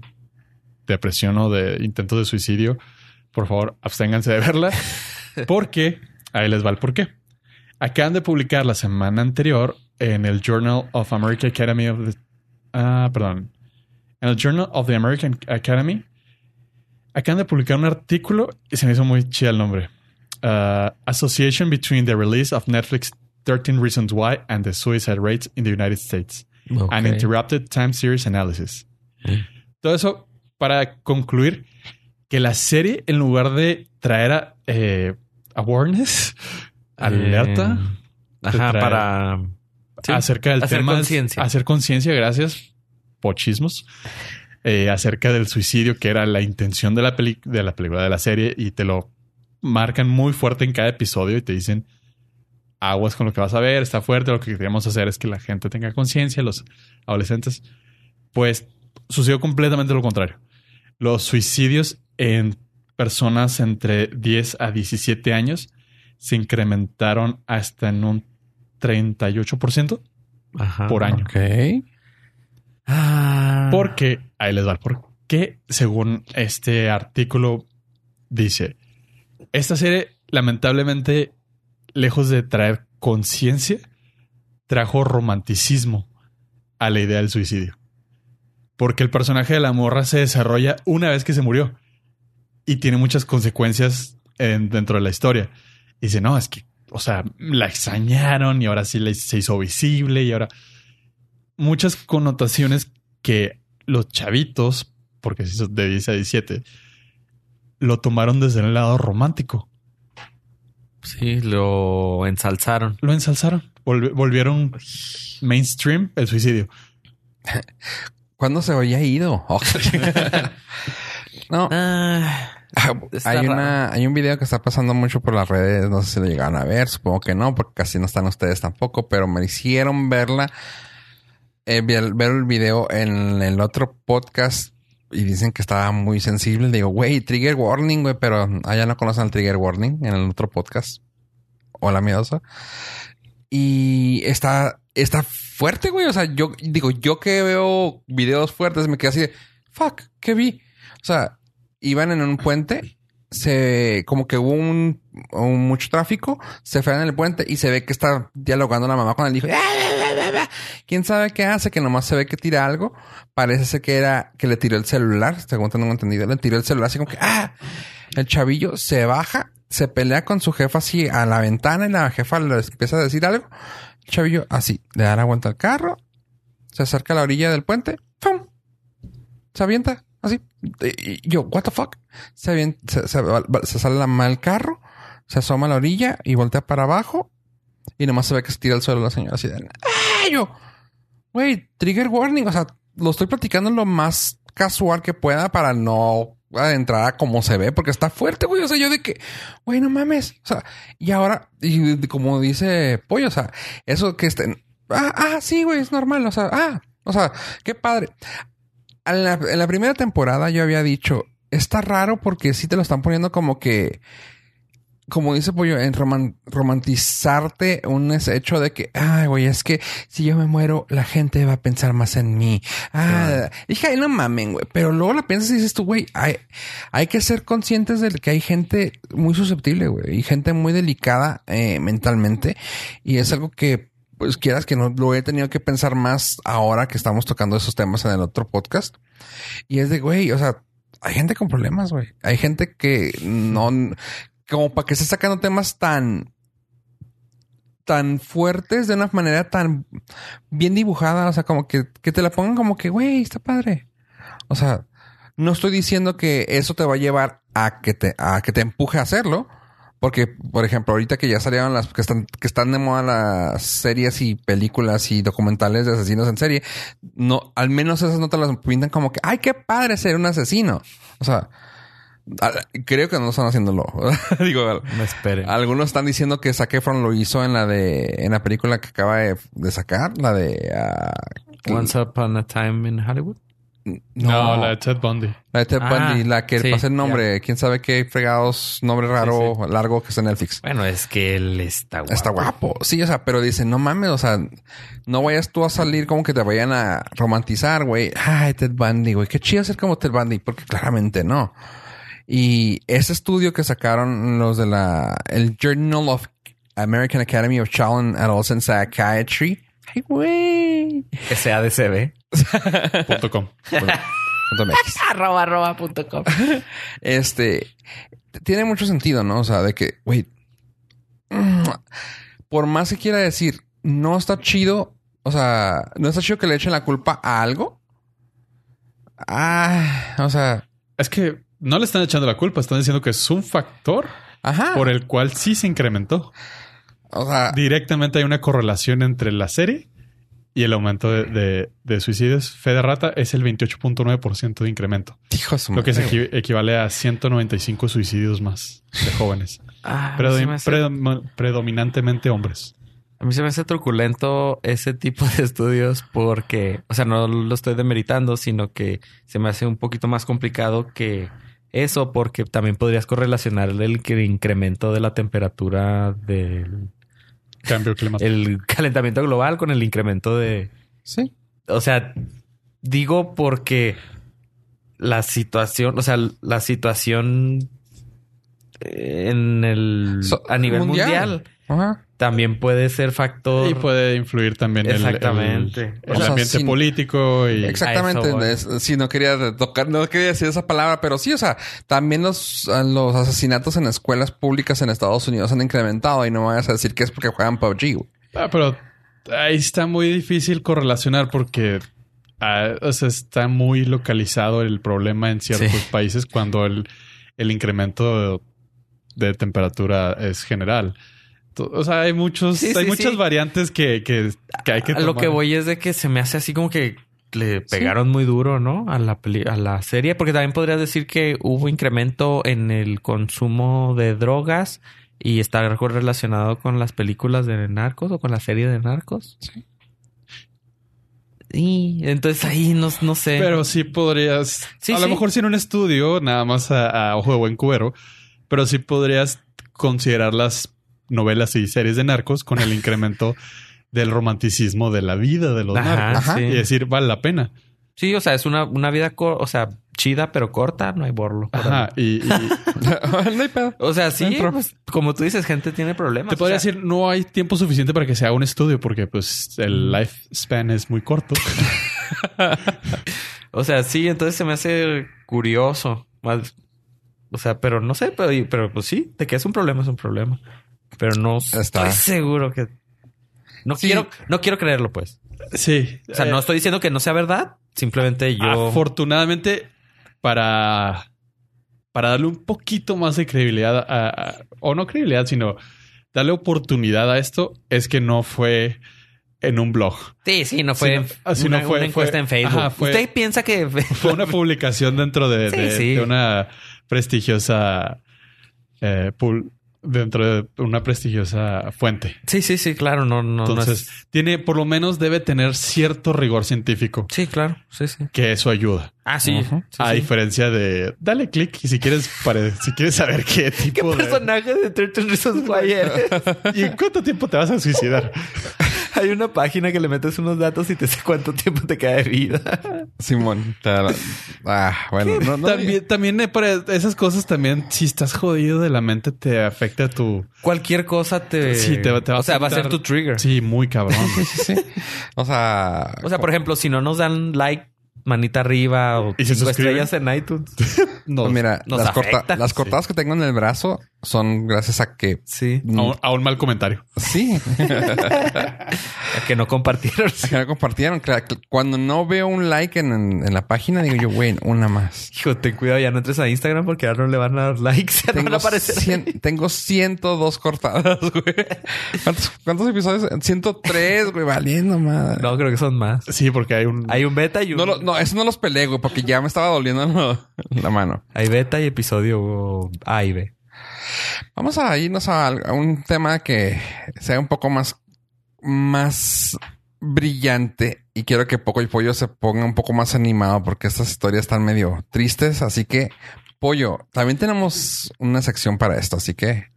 depresión o de intentos de suicidio, por favor, absténganse de verla. Porque ahí les va el porqué. Acaban de publicar la semana anterior en el Journal of American Academy of the. Ah, perdón. En el Journal of the American Academy. Acaban de publicar un artículo y se me hizo muy chida el nombre. Uh, Association between the release of Netflix 13 Reasons Why and the suicide rates in the United States. An Interrupted Time Series Analysis. Todo eso para concluir que la serie, en lugar de traer a, eh, awareness, alerta,
Eh, ajá,
trae-
para. sí.
acerca del
Hacer
tema.
conciencia.
Hacer conciencia, gracias, pochismos. eh, acerca del suicidio, que era la intención de la, peli- de la película, de la serie, y te lo marcan muy fuerte en cada episodio y te dicen aguas con lo que vas a ver, está fuerte, lo que queríamos hacer es que la gente tenga conciencia, los adolescentes. Pues sucedió completamente lo contrario. Los suicidios en personas entre 10 a 17 años se incrementaron hasta en un 38%
Ajá.
por año.
Ok.
Ah.
Porque, ahí les va el porque, según este artículo dice, esta serie lamentablemente, lejos de traer conciencia, trajo romanticismo a la idea del suicidio. Porque el personaje de la morra se desarrolla una vez que se murió y tiene muchas consecuencias en- dentro de la historia. Y dice, no, es que, o sea, la extrañaron y ahora sí le- se hizo visible y ahora muchas connotaciones que los chavitos, porque si son de 10 a 17, lo tomaron desde el lado romántico.
Sí, lo ensalzaron.
Lo ensalzaron. Volvi- volvieron mainstream el suicidio.
¿Cuándo se había ido? Ok. <laughs> no,
Ah, <laughs> Está
hay,
raro.
una, hay un video que está pasando mucho por las redes. No sé si lo llegaron a ver. Supongo que no, porque casi no están ustedes tampoco. Pero me hicieron verla, eh, vi- ver el video en el otro podcast y dicen que estaba muy sensible. Digo, güey, trigger warning, güey, pero allá no conocen el trigger warning en el otro podcast. Hola, miedosa. Y está, está fuerte, güey. O sea, yo digo, yo que veo videos fuertes me quedé así de, fuck, ¿qué vi? O sea, iban en un puente, se como que hubo un, un- mucho tráfico, se frenan en el puente y se ve que está dialogando la mamá con el hijo. ¡Ah, bla, bla, bla, bla! Quién sabe qué hace, que nomás se ve que tira algo. Parece ser que era que le tiró el celular, según tengo entendido, le tiró el celular así como que ah, el chavillo se baja, se pelea con su jefa así a la ventana y la jefa le empieza a decir algo. El chavillo así, le da la vuelta al carro, se acerca a la orilla del puente, ¡pum! se avienta así. Y y yo, what the fuck? Se, avien- se, se- va- va- se sale la mal carro, se asoma a la orilla y voltea para abajo. Y nomás se ve que se tira al suelo la señora así de... ¡Ah! Yo, güey, trigger warning. O sea, lo estoy platicando lo más casual que pueda para no adentrar a cómo se ve, porque está fuerte, güey. O sea, yo de que, güey, no mames. O sea, y ahora, y como dice Pollo, o sea, eso que estén... Ah, ah, sí, güey, es normal. O sea, ah, o sea, qué padre. A la- en la primera temporada yo había dicho, está raro porque sí te lo están poniendo como que, como dice Pollo, en roman- romantizarte un es- hecho de que, ay, güey, es que si yo me muero, la gente va a pensar más en mí. Ah, dije, "Ay, no mamen, güey. Pero luego la piensas y dices tú, güey, hay, hay que ser conscientes de que hay gente muy susceptible, güey, y gente muy delicada eh, mentalmente. Y es algo que, pues quieras que no, lo he tenido que pensar más ahora que estamos tocando esos temas en el otro podcast. Y es de, güey, o sea, hay gente con problemas, güey. Hay gente que no, como para que esté sacando temas tan, tan fuertes de una manera tan bien dibujada. O sea, como que, que te la pongan como que, güey, está padre. O sea, no estoy diciendo que eso te va a llevar a que te, a que te empuje a hacerlo. Porque, por ejemplo, ahorita que ya salieron las que están, que están de moda las series y películas y documentales de asesinos en serie, no, al menos esas no te las pintan como que, ay, qué padre ser un asesino. O sea, al- creo que no están haciéndolo. <laughs> Digo, al-
me espere.
algunos están diciendo que Zac Efron lo hizo en la de, en la película que acaba de, de sacar, la de, ah,
Once Upon a Time in Hollywood.
No, la de Ted Bundy.
la de Ted
Ah,
Bundy, la que
sí,
pasa el nombre, quién sabe qué fregados, nombre raro, largo que está en Netflix.
Bueno, es que él está guapo.
Está guapo. Sí, o sea, pero dicen, no mames, o sea, no vayas tú a salir como que te vayan a romantizar, güey. Ay, Ted Bundy, güey, qué chido ser como Ted Bundy, porque claramente no. Y ese estudio que sacaron los de la, el Journal of American Academy of Child and Adolescent Psychiatry. Ay, güey.
SADCB.
punto com.
<laughs>
Punto MX.
arroba arroba punto com.
<laughs> este tiene mucho sentido, ¿no? O sea, de que, güey, mm, por más que quiera decir, no está chido, o sea, no está chido que le echen la culpa a algo. Ah, o sea,
Es que no le están echando la culpa, están diciendo que es un factor
Ajá.
por el cual sí se incrementó.
O sea,
Directamente hay una correlación entre la serie y el aumento de, de- de suicidios. Fe de rata es el 28.9% de incremento,
dijo su
lo que se
madre,
equi- equivale a 195 suicidios más de jóvenes,
Ah, a, mí se
Predom-
me hace,
predom- predominantemente hombres.
a mí se me hace truculento ese tipo de estudios porque, o sea, no lo estoy demeritando, sino que se me hace un poquito más complicado que eso porque también podrías correlacionar el que- incremento de la temperatura del
Cambio <laughs> climático.
<laughs> el calentamiento global con el incremento de
Sí.
O sea, digo porque la situación, o sea, la situación eh, en el
So-
a nivel mundial.
mundial. Ajá.
también puede ser factor.
Y puede influir también el- el-
Exactamente.
el,
O sea,
ambiente
sin-
político y
Exactamente.
voy.
es- sí, no quería tocar, no quería decir esa palabra, pero sí, o sea, también los, a los asesinatos en escuelas públicas en Estados Unidos han incrementado y no me vas a decir que es porque juegan PUBG. güey.
Ah, pero ahí está muy difícil correlacionar porque ah, o sea, está muy localizado el problema en ciertos
Sí.
países cuando el, el incremento de, de temperatura es general. To- O sea, hay muchos,
Sí,
hay
sí,
muchas
sí.
variantes que, que, que hay que
a lo
tomar.
que voy es de que se me hace así como que le pegaron muy duro, ¿no? A la peli- a la serie, porque también podrías decir que hubo incremento en el consumo de drogas y está algo relacionado con las películas de narcos o con la serie de narcos. Sí. Y entonces ahí no, no sé.
Pero sí podrías,
Sí,
a lo
sí.
mejor sin un estudio, nada más a, a ojo de buen cuero, pero sí podrías considerar las novelas y series de narcos con el
<laughs>
incremento del romanticismo de la vida de los narcos.
Ajá,
Ajá.
Sí.
y decir vale la pena.
Sí, o sea, es una, una vida, cor- o sea, chida pero corta, no hay borlo.
Ajá.
<laughs>
Y, y
no hay pedo.
O sea, sí,
Dentro.
pues, como tú dices, gente tiene problemas.
te podría
pues, o sea,
decir, no hay tiempo suficiente para que se haga un estudio porque pues
Mm.
el lifespan es muy
<laughs>
corto.
O sea, sí, entonces se me hace curioso. Más- O sea, pero no sé, pero, pero pues sí, de que es un problema, es un problema. Pero no
Está.
estoy seguro que. No
Sí.
quiero, no quiero creerlo, pues.
Sí.
O sea, no estoy diciendo que no sea verdad. Simplemente yo.
Afortunadamente, para, para darle un poquito más de credibilidad, a- a- o no credibilidad, sino darle oportunidad a esto, es que no fue en un blog. <laughs>
Sí, sí, no fue,
Sí, no- ah, sí,
una,
no fue-
una
fue-
encuesta en Facebook.
ajá, fue-
Usted piensa que <laughs>
Fue una publicación dentro de,
Sí,
de-
sí.
de una prestigiosa... eh, pul- dentro de una prestigiosa fuente.
sí, sí, sí, claro, no, no, no es-
Entonces, tiene, por lo menos debe tener cierto rigor científico,
Sí, claro, sí, sí.
que eso ayuda.
Ah, sí.
Ujú.
sí,
a
sí.
diferencia de dale clic y si quieres pare- si quieres saber qué
<laughs> <laughs> ¿Qué
tipo de
personaje de 13 Reasons Why eres?
¿Y en cuánto tiempo te vas a suicidar?
<laughs> Hay una página que le metes unos datos y te dice cuánto tiempo te queda de vida.
Simón. te- Ah, bueno. No, no,
también, también eh, para esas cosas también, si estás jodido de la mente, te afecta tu...
Cualquier cosa te...
Sí, te- te va a
O sea, va a
afectar.
ser tu trigger.
Sí,
<laughs>
muy cabrón.
Sí, sí, sí. O sea.
O sea, por ejemplo, si no nos dan like, manita arriba o
¿Y se
cinco
suscriben?
estrellas en iTunes.
No,
pues mira,
nos
las,
afecta.
corta- las
Sí.
cortadas que tengo en el brazo son gracias a que.
Sí.
a, un, a un mal comentario.
Sí. <laughs>
Que no
<laughs>
compartieron.
que la compartieron. Cla- cl- Cuando no veo un like en, en- en la página, digo yo, güey, una más.
Hijo, ten cuidado, ya no entres a Instagram porque ahora no le van a dar likes. <laughs> Ya no van a
Tengo,
aparecer.
100 tengo 102 cortadas, güey. ¿Cuántos, cuántos episodios? 103, güey, valiendo madre. No,
No, creo que son más.
Sí, porque hay un...
Hay un beta y un...
lo- no, eso no los peleé, güey, porque ya me estaba doliendo lo- la mano.
Hay beta y episodio A y B.
Vamos a irnos a, al- a un tema que sea un poco más, más brillante y quiero que Poco y Pollo se ponga un poco más animado porque estas historias están medio tristes. Así que, Pollo, también tenemos una sección para esto. Así que,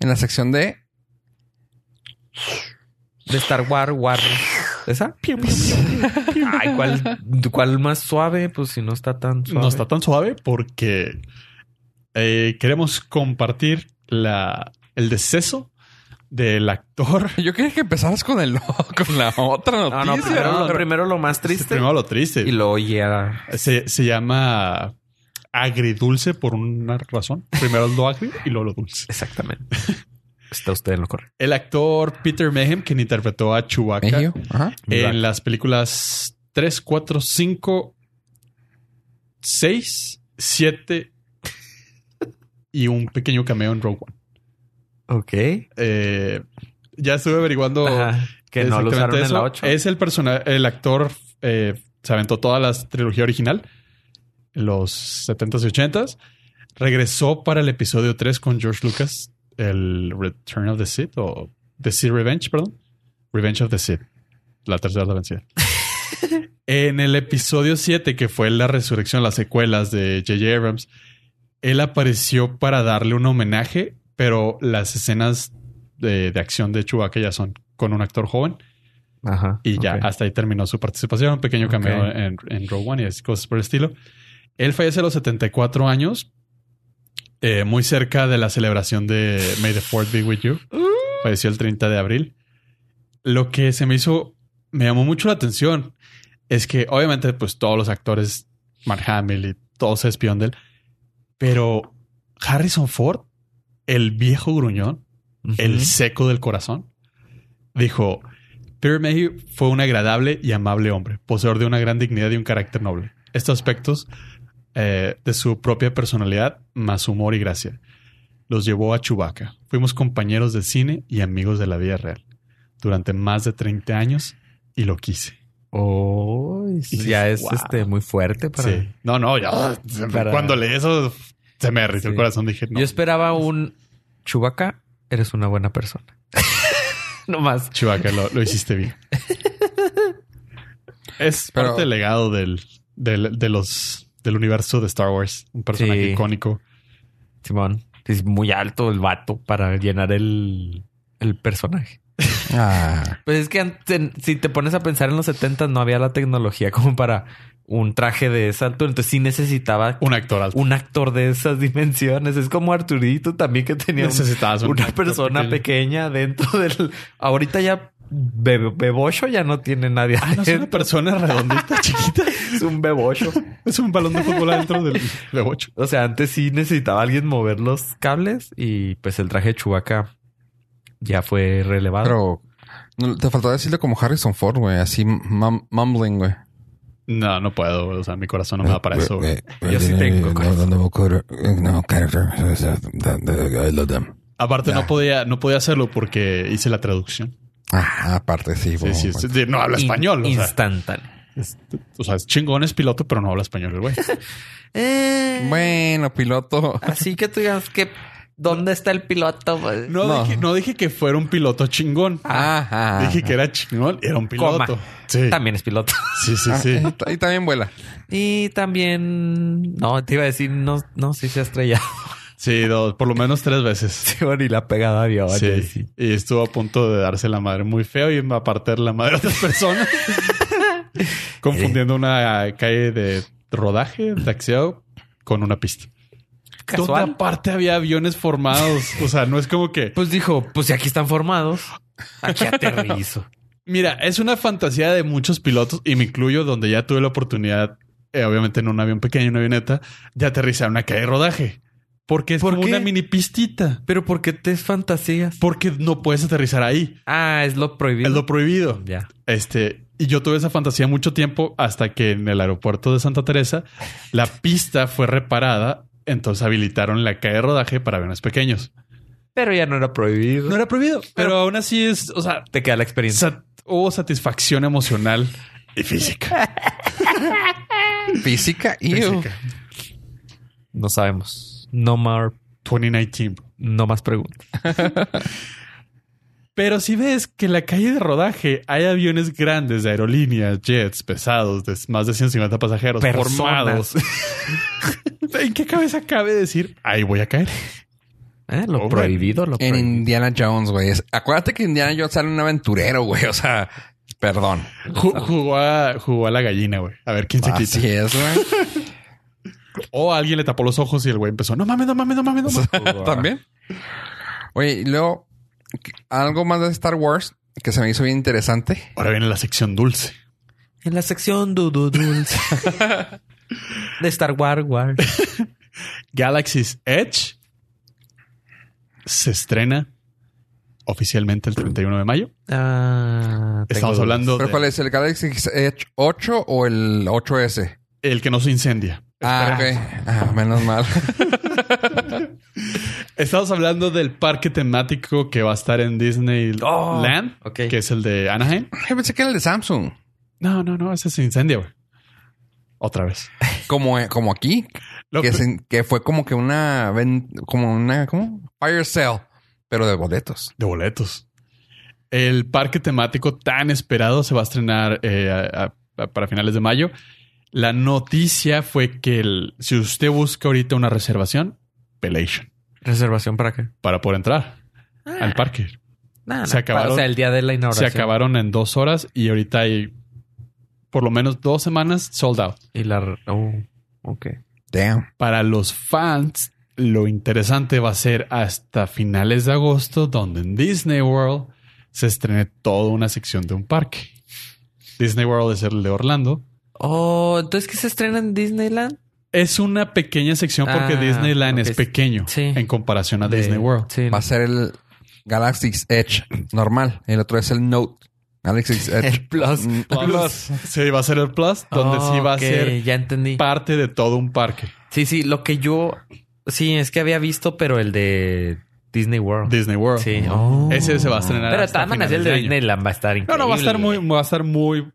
en la sección de
De Star Wars, War. ¿Esa?
<laughs>
Ay, ¿cuál, ¿cuál más suave? Pues si no está tan suave.
No está tan suave porque eh, queremos compartir la, el deceso del actor.
Yo quería que empezaras con el <laughs> con la otra noticia.
No, no, primero,
¿no?
lo- primero lo más triste.
Primero lo triste.
Y luego llega.
Se, se llama agridulce por una razón. Primero lo agri y luego lo dulce.
Exactamente. <laughs> Está usted en lo correcto.
El actor Peter Mayhem, quien interpretó a Chewbacca
Mejio, ajá.
en las películas 3, 4, 5, 6, 7 y un pequeño cameo en Rogue One.
Ok.
Eh, ya estuve averiguando.
Ajá. Oh, Que no lo
exactamente
usaron en
eso.
la 8.
Es el persona, el actor eh, se aventó toda la trilogía original en los 70s y 80s. Regresó para el episodio 3 con George Lucas, el Return of the Sith o The Sith Revenge, perdón. Revenge of the Sith, la tercera de la vencida. en el episodio 7, que fue la resurrección, las secuelas de J.J. Abrams, él apareció para darle un homenaje, pero las escenas de, de acción de Chewbacca ya son con un actor joven.
Ajá.
Y ya
ok.
hasta ahí terminó su participación. Un pequeño cameo
Ok.
en, en Rogue One y así cosas por el estilo. Él fallece a los 74 años, eh, muy cerca de la celebración de May the Fourth be with you.
Mm.
Falleció el 30 de abril. Lo que se me hizo, me llamó mucho la atención, es que obviamente, pues todos los actores, Mark Hamill y todos se espían de él, pero Harrison Ford, el viejo gruñón,
Ujú.
el seco del corazón, dijo: Peter Mayhew fue un agradable y amable hombre, poseedor de una gran dignidad y un carácter noble. Estos aspectos eh, de su propia personalidad, más humor y gracia, los llevó a Chewbacca. Fuimos compañeros de cine y amigos de la vida real durante más de 30 años y lo quise.
Oh,
dices,
ya es
"Wow".
este muy fuerte para.
Sí. No, no, ya.
Para-
Cuando leí eso, se me derritió el
Sí.
corazón. Dije, no.
Yo esperaba un Chubaca, eres una buena persona. <laughs> no más.
Chewbacca, lo, lo hiciste bien. <laughs> es
Pero-
parte del legado del, del, de los, del universo de Star Wars. Un personaje
Sí.
icónico.
Simón, es muy alto el vato para llenar el, el personaje.
Ah,
Pues es que antes, si te pones a pensar en los 70 no había la tecnología como para un traje de esa altura. Entonces sí necesitaba
Un actor alto.
un actor de esas dimensiones. Es como Arturito también que tenía un-
Necesitabas un
una
actor
persona pequeña dentro del... Ahorita ya bebe- bebocho ya no tiene nadie.
Ah, no es una
adentro.
persona
<laughs>
redondita, chiquita.
es un bebocho.
Es un balón de fútbol adentro del de bocho.
O sea, antes sí necesitaba alguien mover los cables y pues el traje de Chewbacca ya fue relevado.
pero no, te faltó decirle como Harrison Ford, güey. Así mum- mumbling, güey.
No, no puedo. O sea, mi corazón no me da para eso. güey.
Yo sí tengo corazón.
No, no, character. I love them.
Aparte, no
Ya.
podía, no podía hacerlo porque hice la traducción.
Ah, aparte, sí.
Sí, sí, sí, sí, no habla
In-
español. O sea,
Instantáneo.
es, o sea, es chingón, es piloto, pero no habla español el
<laughs>
güey.
Eh,
Bueno, piloto.
Así que tú digas que... ¿Dónde está el piloto? pues?
No,
No.
Dije, no dije que fuera un piloto chingón.
Ajá.
Dije que era chingón, era un piloto.
Coma.
Sí.
Ah, También es piloto.
sí, sí, sí.
Ah, Y también vuela.
Y también... No, te iba a decir... No, no sí se ha estrellado.
Sí, dos, por lo menos tres veces.
<laughs> Sí, bueno, y la pegada de avión.
Sí.
y sí.
Y estuvo a punto de darse la madre muy feo y va a partir la madre a otras
<laughs>
personas. Confundiendo una calle de rodaje, taxeado, con una pista. Toda
Casual.
parte había aviones formados. O sea, no es como que.
Pues dijo, pues si aquí están formados, aquí aterrizo.
Mira, es una fantasía de muchos pilotos y me incluyo donde ya tuve la oportunidad, eh, obviamente en un avión pequeño, una avioneta, de aterrizar en una calle de rodaje. Porque es
¿Por
como
qué?
una mini pistita.
<laughs> Pero ¿por qué te fantasías?
porque no puedes aterrizar ahí.
Ah, es lo prohibido.
Es lo prohibido.
Ya.
Este, y yo tuve esa fantasía mucho tiempo hasta que en el aeropuerto de Santa Teresa la pista fue reparada, entonces habilitaron la calle de rodaje para aviones pequeños.
Pero ya no era prohibido.
No era prohibido, pero aún así es, o sea,
Te queda la experiencia.
sat- hubo satisfacción emocional y física.
Física y.
Física.
No sabemos. No más,
2019. bro.
no más preguntas.
Pero si ves que en la calle de rodaje hay aviones grandes de aerolíneas, jets pesados de más de 150 pasajeros
Personas.
formados. ¿En qué cabeza cabe decir ahí voy a caer?
Eh, Lo
Hombre.
prohibido, lo
En
prohibido.
Indiana Jones, güey. Es- Acuérdate que Indiana Jones sale un aventurero, güey. O sea, perdón.
Ju- jugó, a, jugó a la gallina, güey. A ver quién se quita.
Así es, güey.
O alguien le tapó los ojos y el güey empezó, no mames, no mames, no mames, no
<laughs>
mames. <laughs>
También. Oye, y luego, algo más de Star Wars que se me hizo bien interesante.
Ahora viene la sección dulce.
En la sección du- du-
<laughs>
dulce de Star Wars. War.
Galaxy's Edge se estrena oficialmente el 31 de mayo.
Ah, tengo
Estamos
dudas.
hablando
¿Pero
de
cuál es? ¿El Galaxy Edge 8 o el 8S?
el que no se incendia.
Ah, ok. Ah, menos
<laughs>
mal.
Estamos hablando del parque temático que va a estar en Disneyland,
Oh, ok.
que es el de Anaheim.
Yo pensé que era el de Samsung.
No, no, no, ese se incendia, güey. Otra vez.
Como, eh, como aquí,
Lo-
que, se- que fue como que una, ven- como una, ¿cómo? Fire sale, pero de boletos.
De boletos. El parque temático tan esperado se va a estrenar eh, a- a- para finales de mayo. La noticia fue que el- si usted busca ahorita una reservación, Pelation,
¿Reservación para qué?
para poder entrar al parque.
Nada.
Se acabaron-
O sea, el día de la
Se
inauguración.
acabaron en dos horas y ahorita hay por lo menos dos semanas sold out.
Y la... Oh, ok.
Damn.
Para los fans, lo interesante va a ser hasta finales de agosto, donde en Disney World se estrene toda una sección de un parque. Disney World es el de Orlando.
Oh, entonces que se estrena en Disneyland.
Es una pequeña sección porque
Ah,
Disneyland
porque
es
es-
pequeño
sí.
en comparación a Ah, Disney World.
Sí.
Va a ser el Galaxy's Edge normal. El otro es el Note. Galaxy's Edge.
<laughs>
El Plus.
Mm,
Plus. Sí, va a ser el Plus, donde sí va a
Ok,
ser
Ya entendí.
parte de todo un parque.
Sí, sí, lo que yo... Sí, es que había visto, pero el de Disney World.
Disney World.
Sí. Oh.
Ese se va a estrenar.
Pero
hasta
está
finales
el
de
de
año.
Disneyland va a estar
No,
increíble.
no, va a estar muy, va a estar muy.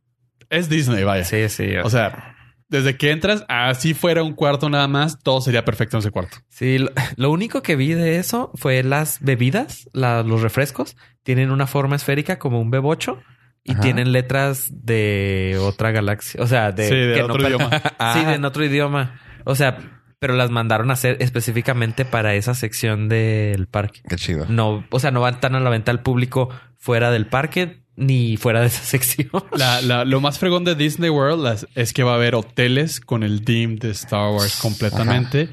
Es Disney, vaya.
Sí, sí.
O sea, desde que entras, así fuera un cuarto nada más, todo sería perfecto en ese cuarto.
Sí, lo, <laughs> lo único que vi de eso fue las bebidas, la- los refrescos. Tienen una forma esférica como un bebocho y
Ajá.
tienen letras de otra galaxia. O sea, de,
sí, de
que no
otro
per-
idioma.
Sí, de en otro idioma. O sea, pero las mandaron a hacer específicamente para esa sección del parque.
Qué chido.
No, o sea, no van tan a la venta al público fuera del parque ni fuera de esa <laughs> sección.
<laughs> La- la- lo más fregón de Disney World las- es que va a haber hoteles con el theme de Star Wars completamente.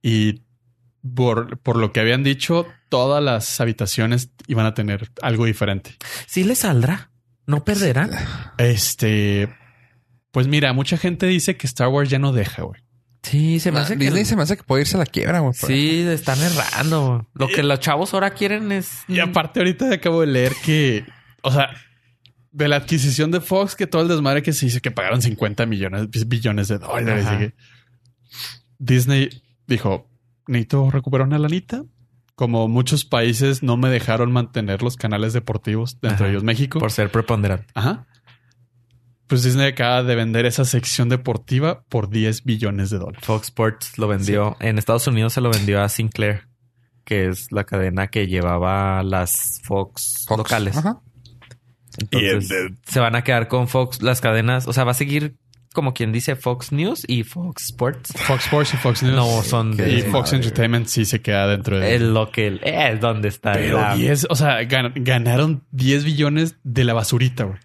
Y por, por lo que habían dicho, todas las habitaciones iban a tener algo diferente.
Sí le saldrá. No perderán.
Este. Pues mira, mucha gente dice que Star Wars ya no deja, güey.
Sí, se me
No,
hace que-
Disney se me hace que puede irse a la quiebra, güey.
Sí, están errando. Lo que los chavos ahora quieren es.
Eh, Y aparte, ahorita acabo de leer que, o sea, de la adquisición de Fox, que todo el desmadre que se hizo, que pagaron 50 millones, billones de dólares.
Ajá.
y que- Disney dijo: Necesito recuperar una lanita. Como muchos países no me dejaron mantener los canales deportivos, entre
Ajá.
ellos México.
Por ser preponderante.
Ajá. Pues Disney acaba de vender esa sección deportiva por 10 billones de dólares.
Fox Sports lo vendió. En Estados Unidos se lo vendió a Sinclair, que es la cadena que llevaba las Fox,
Fox.
locales.
Ajá.
Entonces,
Y el
se van a quedar con Fox las cadenas. O sea, va a seguir como quien dice Fox News y Fox Sports.
Fox Sports y Fox News.
No, son
qué
y
de.
Fox
madre.
Entertainment sí se queda dentro de
Es lo que eh, es donde está.
Pero
la-
10, o sea, gan- ganaron 10 billones de la basurita, güey.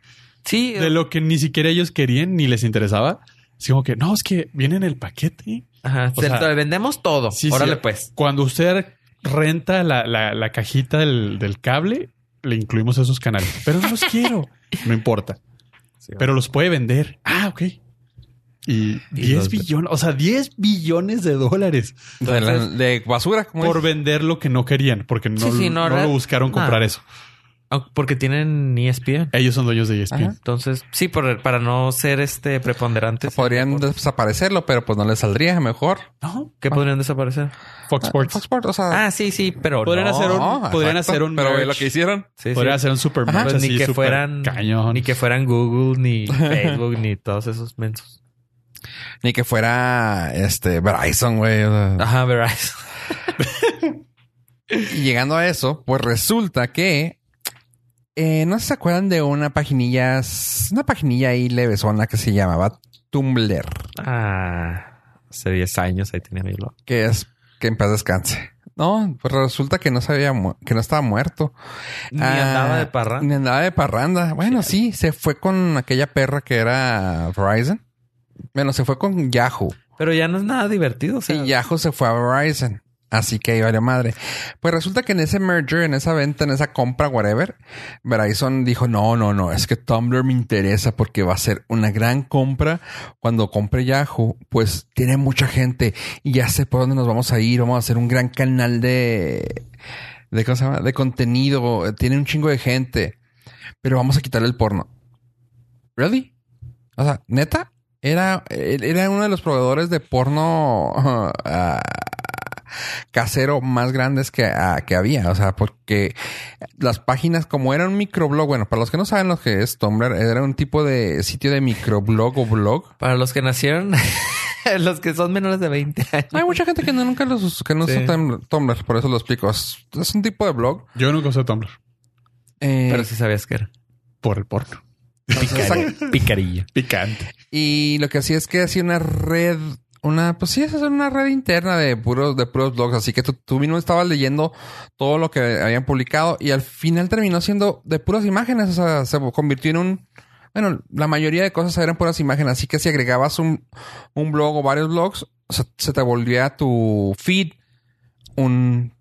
Sí,
De lo que ni siquiera ellos querían ni les interesaba. Así como que, no, es que viene en el paquete.
ajá,
o
se-
sea-
le vendemos todo.
Sí, sí.
Órale, pues.
Cuando usted renta la, la- la cajita del, del cable, le incluimos esos canales. Pero
<laughs>
no los quiero. No importa. Pero los puede vender. Ah, ok. Y 10
los-
billones, o sea, 10 billones de dólares
De, la- de basura, como
por
dices.
vender lo que no querían, porque no,
Pues Sí, sí, no,
no
re-
lo buscaron comprar
nada.
eso.
Ah, Porque tienen
E
ESPN.
Ellos son dueños de E ESPN.
Ajá.
Entonces, sí, por- para no ser este preponderantes.
Ah, Podrían desaparecerlo, pero pues no les saldría mejor.
No,
¿Qué podrían desaparecer?
Fox Sports.
Fox Sports, o sea.
Ah, sí, sí, pero
Podrían
no.
hacer un-
no,
podrían hacer un
Pero ve
merge.
lo que hicieron.
Sí, sí.
Podría ser un super
Ajá.
match
Pues
así,
ni que
super
fueran
cañón.
ni que fueran Google <laughs> ni Facebook ni todos esos mensos.
Ni que fuera este Bryson, güey. o sea.
Ajá, Verizon.
Y llegando a eso, pues resulta que eh, no sé si se acuerdan de una paginilla, una paginilla ahí levesona que se llamaba Tumblr,
Ah, hace 10 años ahí tenía mi blog.
que es que en paz descanse. No, pues resulta que no sabía que no estaba muerto.
Ni
Ah,
andaba de parra.
Ni andaba de parranda. Bueno, sí, se fue con aquella perra que era Verizon. Bueno, se fue con Yahoo.
Pero ya no es nada divertido. O sea,
Y Yahoo se fue a Verizon. Así que ahí valió madre. Pues resulta que en ese merger, en esa venta, en esa compra, whatever, Verizon dijo, no, no, no, es que Tumblr me interesa porque va a ser una gran compra. Cuando compre Yahoo, pues tiene mucha gente y ya sé por dónde nos vamos a ir. Vamos a hacer un gran canal de... ¿De cómo se llama? De contenido. Tiene un chingo de gente. Pero vamos a quitarle el porno. ¿Really? O sea, ¿neta? Era, eh, era uno de los proveedores de porno ah, casero más grandes que, ah, que había. O sea, porque las páginas, como era un microblog, bueno, para los que no saben lo que es Tumblr, era un tipo de sitio de microblog o blog.
Para los que nacieron, <laughs> los que son menores de 20 años.
Hay mucha gente que no- nunca los us- que no
Sí.
usa Tum- Tumblr, por eso lo explico. Es, es un tipo de blog.
Yo nunca usé Tumblr
eh, <laughs>
Pero sí sabías que era.
por el porno.
Picari- Picarilla.
Picante.
Y lo que hacía es que hacía una red, una, pues sí, es hacer una red interna de puros, de puros blogs. Así que tú, tú mismo estabas leyendo todo lo que habían publicado y al final terminó siendo de puras imágenes. O sea, se convirtió en un, bueno, la mayoría de cosas eran puras imágenes. Así que si agregabas un, un blog o varios blogs, se, se te volvía tu feed un,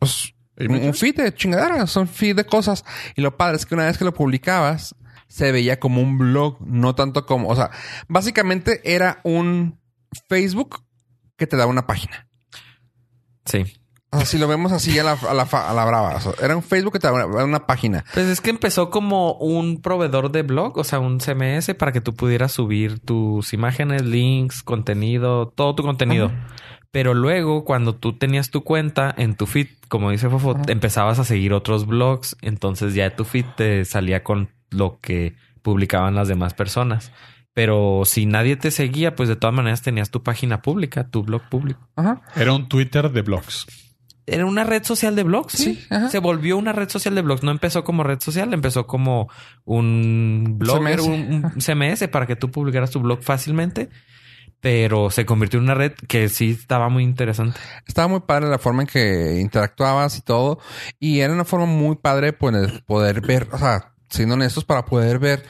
pues, un, un feed de chingaderas, un feed de cosas. Y lo padre es que una vez que lo publicabas, se veía como un blog, no tanto como, o sea, básicamente era un Facebook que te daba una página.
Sí.
O sea, si lo vemos así a la, a la, fa- a la brava, o sea, era un Facebook que te daba una, una página.
Pues es que empezó como un proveedor de blog, o sea, un CMS para que tú pudieras subir tus imágenes, links, contenido, todo tu contenido. Pero luego, cuando tú tenías tu cuenta en tu feed, como dice Fofo,
Ajá.
empezabas a seguir otros blogs, entonces ya tu feed te salía con lo que publicaban las demás personas. Pero si nadie te seguía, pues de todas maneras tenías tu página pública, tu blog público.
Ajá.
era un Twitter de blogs.
Era una red social de blogs, sí.
Sí, ajá.
Se volvió una red social de blogs. No empezó como red social, empezó como un blogger,
CMS.
un, un CMS para que tú publicaras tu blog fácilmente. Pero se convirtió en una red que sí estaba muy interesante.
Estaba muy padre la forma en que interactuabas y todo. Y era una forma muy padre pues, el poder ver, o sea, siendo honestos, para poder ver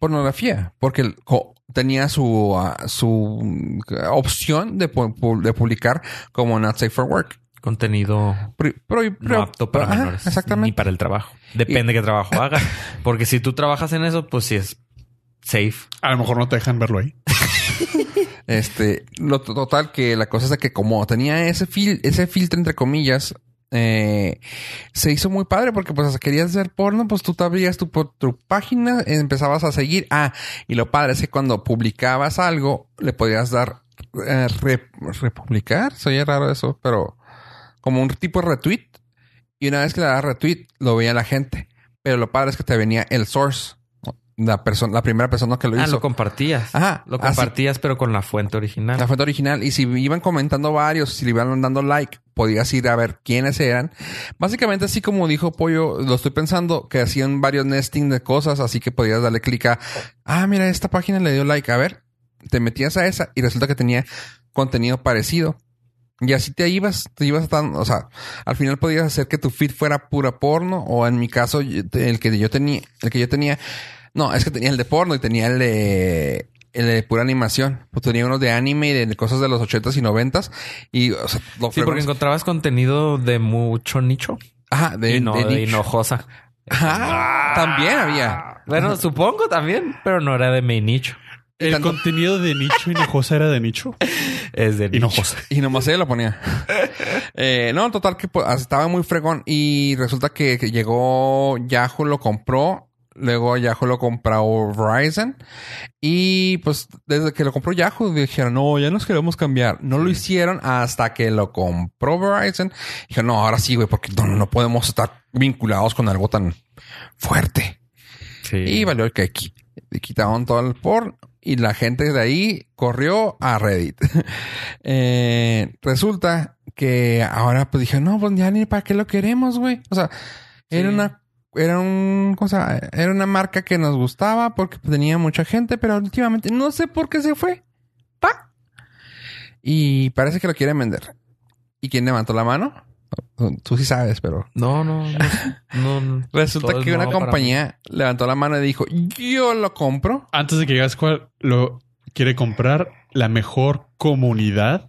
pornografía. Porque el- co- tenía su, ah, su mm, opción de, pu- pu- de publicar como Not Safe for Work.
Contenido
Pri- pro-
no
pro-
apto para
ajá,
menores. Ni
Exactamente.
para el trabajo. Depende
<laughs>
qué trabajo hagas. Porque si tú trabajas en eso, pues sí es safe.
A lo mejor no te dejan verlo ahí.
Este, lo to- total que la cosa es de que como tenía ese fil ese filtro entre comillas, eh, se hizo muy padre porque pues hasta querías hacer porno, pues tú te abrías tu, po- tu página, empezabas a seguir. Ah, y lo padre es que cuando publicabas algo, le podías dar eh, re- republicar, se oye raro eso, pero como un tipo de retweet. Y una vez que le dabas retweet, lo veía la gente. Pero lo padre es que te venía el source, la persona, la primera persona que lo
Ah,
hizo.
lo compartías.
Ajá.
Lo
Así-
compartías, pero con la fuente original.
la fuente original. Y si iban comentando varios, si le iban dando like, podías ir a ver quiénes eran. Básicamente, así como dijo Pollo, lo estoy pensando, que hacían varios nesting de cosas, así que podías darle clic a, ah, mira, esta página le dio like, a ver, te metías a esa y resulta que tenía contenido parecido. Y así te ibas, te ibas tan, o sea, al final podías hacer que tu feed fuera pura porno o en mi caso yo- te- el que yo tenía, el que yo tenía, no, es que tenía el de porno y tenía el de, el de pura animación, pues tenía unos de anime y de cosas de los 80s y 90s y o sea, lo
Sí, porque
fregón-
encontrabas contenido de mucho nicho.
ajá, de,
y no,
de
de
nicho. <laughs>
hinojosa.
Ajá, también había.
Bueno, supongo también, pero no era de mi nicho.
El
tanto-
contenido de nicho hinojosa era de nicho.
Es de nicho.
Hinojosa.
Y nomás ella lo ponía. Eh, no, total que pues, estaba muy fregón. Y resulta que, que llegó Yahoo, lo compró. Luego Yahoo lo compró Verizon. Y pues desde que lo compró Yahoo dijeron, no, ya nos queremos cambiar. No lo hicieron hasta que lo compró Verizon. Dijeron, no, ahora sí, güey, porque no, no podemos estar vinculados con algo tan fuerte.
Sí.
Y valió el que quitaron todo el porn y la gente de ahí corrió a Reddit. <laughs> Eh, resulta que ahora pues dije, no, pues ya ni para qué lo queremos, güey. O sea, era
Sí.
una era un cosa, era una marca que nos gustaba porque tenía mucha gente, pero últimamente no sé por qué se fue. Pa. Y parece que lo quieren vender. ¿Y quién levantó la mano? Tú sí sabes, pero
No, no, no. no, <laughs> no.
Resulta
Todo es
que una
nuevo para
compañía levantó la mano y dijo, yo lo compro.
Antes de que digas cuál lo quiere comprar, la mejor comunidad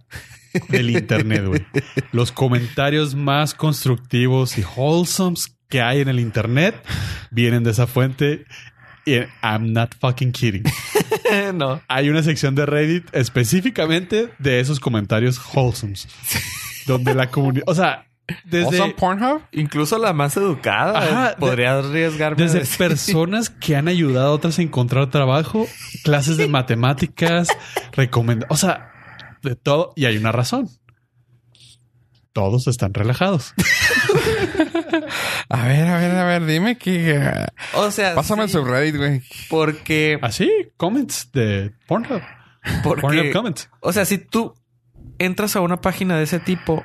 del internet, güey. Los comentarios más constructivos y wholesomes que hay en el internet vienen de esa fuente. Y eh, I'm not fucking kidding.
<laughs> no.
Hay una sección de Reddit específicamente de esos comentarios wholesomes. Donde la comunidad... O sea,
¿Desde...
Desde,
Pornhub?
Incluso la más educada
Ajá,
eh, podría arriesgarme. a
Desde
decir-
personas que han ayudado a otras a encontrar trabajo, clases de matemáticas, recomenda, o sea, de todo. Y hay una razón. Todos están relajados.
A ver, a ver, a ver, dime que... ah,
<laughs> O sea,
Pásame el
sí,
subreddit, güey.
porque,
Así, comments de Pornhub. Pornhub
porque,
comments.
o sea, si tú entras a una página de ese tipo,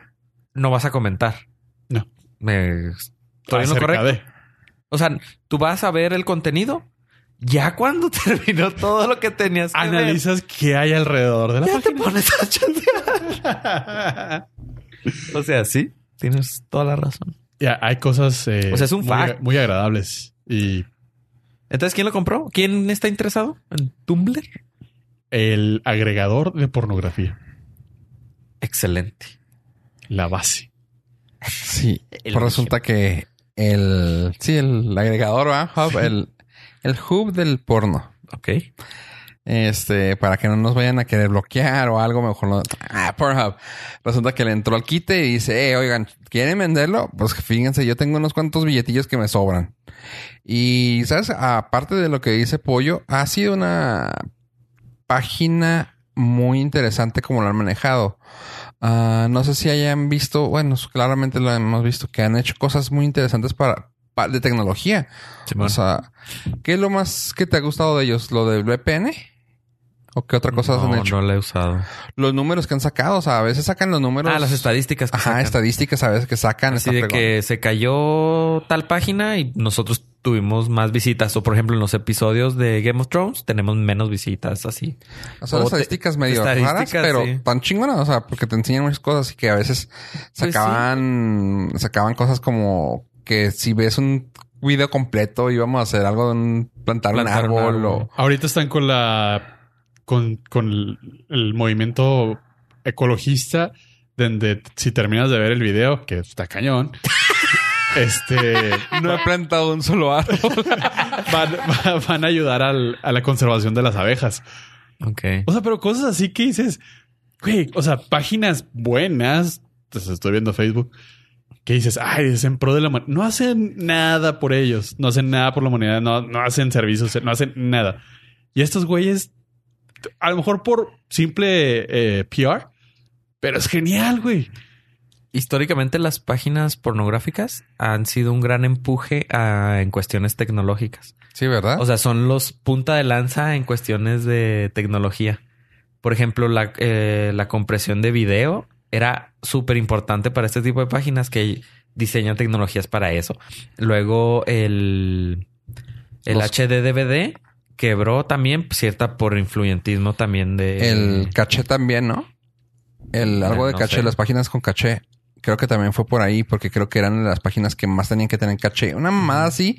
no vas a comentar.
No.
Me estoy en lo
Acerca
correcto.
de.
O sea, tú vas a ver el contenido ya cuando <laughs> terminó todo lo que tenías que
Analizas qué hay alrededor de la
ver. Ya te
página.
pones
<laughs>
a chatear. O sea, sí, tienes toda la razón.
Ya, hay cosas eh,
O sea, es un
muy,
fact.
muy agradables. Y
Entonces, ¿quién lo compró? ¿Quién está interesado en Tumblr?
el agregador de pornografía,
Excelente.
la base.
Sí.
El
Pues resulta que el... Sí, el agregador, ¿va? Hub, el, el hub del porno.
Ok.
Este, para que no nos vayan a querer bloquear o algo, mejor no. Ah, Pornhub. Resulta que le entró al quite y dice, eh, oigan, ¿quieren venderlo? Pues fíjense, yo tengo unos cuantos billetillos que me sobran. Y, ¿sabes? Aparte de lo que dice Pollo, ha sido una página muy interesante como la han manejado. Ah, no sé si hayan visto, bueno, claramente lo hemos visto, que han hecho cosas muy interesantes para, pa- de tecnología. O sea, ¿qué es lo más que te ha gustado de ellos? ¿Lo del VPN? ¿O qué otra cosa
no,
han hecho?
no la he usado.
Los números que han sacado, o sea, a veces sacan los números.
Ah, las estadísticas. Que
Ajá,
sacan.
estadísticas a veces que sacan. está
Así de
fregón.
que se cayó tal página y nosotros tuvimos más visitas. O por ejemplo, en los episodios de Game of Thrones tenemos menos visitas, así.
O sea, las
o te-
estadísticas medio raras,
estadísticas,
pero
sí.
tan chingonas, o sea, porque te enseñan muchas cosas y que a veces
Pues
sacaban, sacaban cosas como que si ves un video completo íbamos a hacer algo de un, plantar,
Plantar
un
un
árbol
árbol.
o...
Ahorita están con la con, con el, el movimiento ecologista donde si terminas de ver el video, que está cañón, <laughs>
<laughs>
este
No he plantado un solo árbol.
van, va- van a ayudar al- a la conservación de las abejas.
Ok.
O sea, pero cosas así que dices, güey, o sea, páginas buenas, entonces estoy viendo Facebook, que dices, ay, es en pro de la humanidad. No hacen nada por ellos, no hacen nada por la humanidad, no, no hacen servicios, no hacen nada. Y estos güeyes, a lo mejor por simple eh, PR, pero es genial, güey.
Históricamente las páginas pornográficas han sido un gran empuje a- en cuestiones tecnológicas.
Sí, ¿verdad?
O sea, son los punta de lanza en cuestiones de tecnología. Por ejemplo, la, eh, la compresión de video era súper importante para este tipo de páginas que diseñan tecnologías para eso. Luego el, el
Los-
HD DVD quebró también, pues, cierta por influyentismo también de...
El caché también, ¿no? El algo de
Eh, no
caché,
sé.
las páginas con caché. Creo que también fue por ahí, porque creo que eran las páginas que más tenían que tener caché. Una mamada así,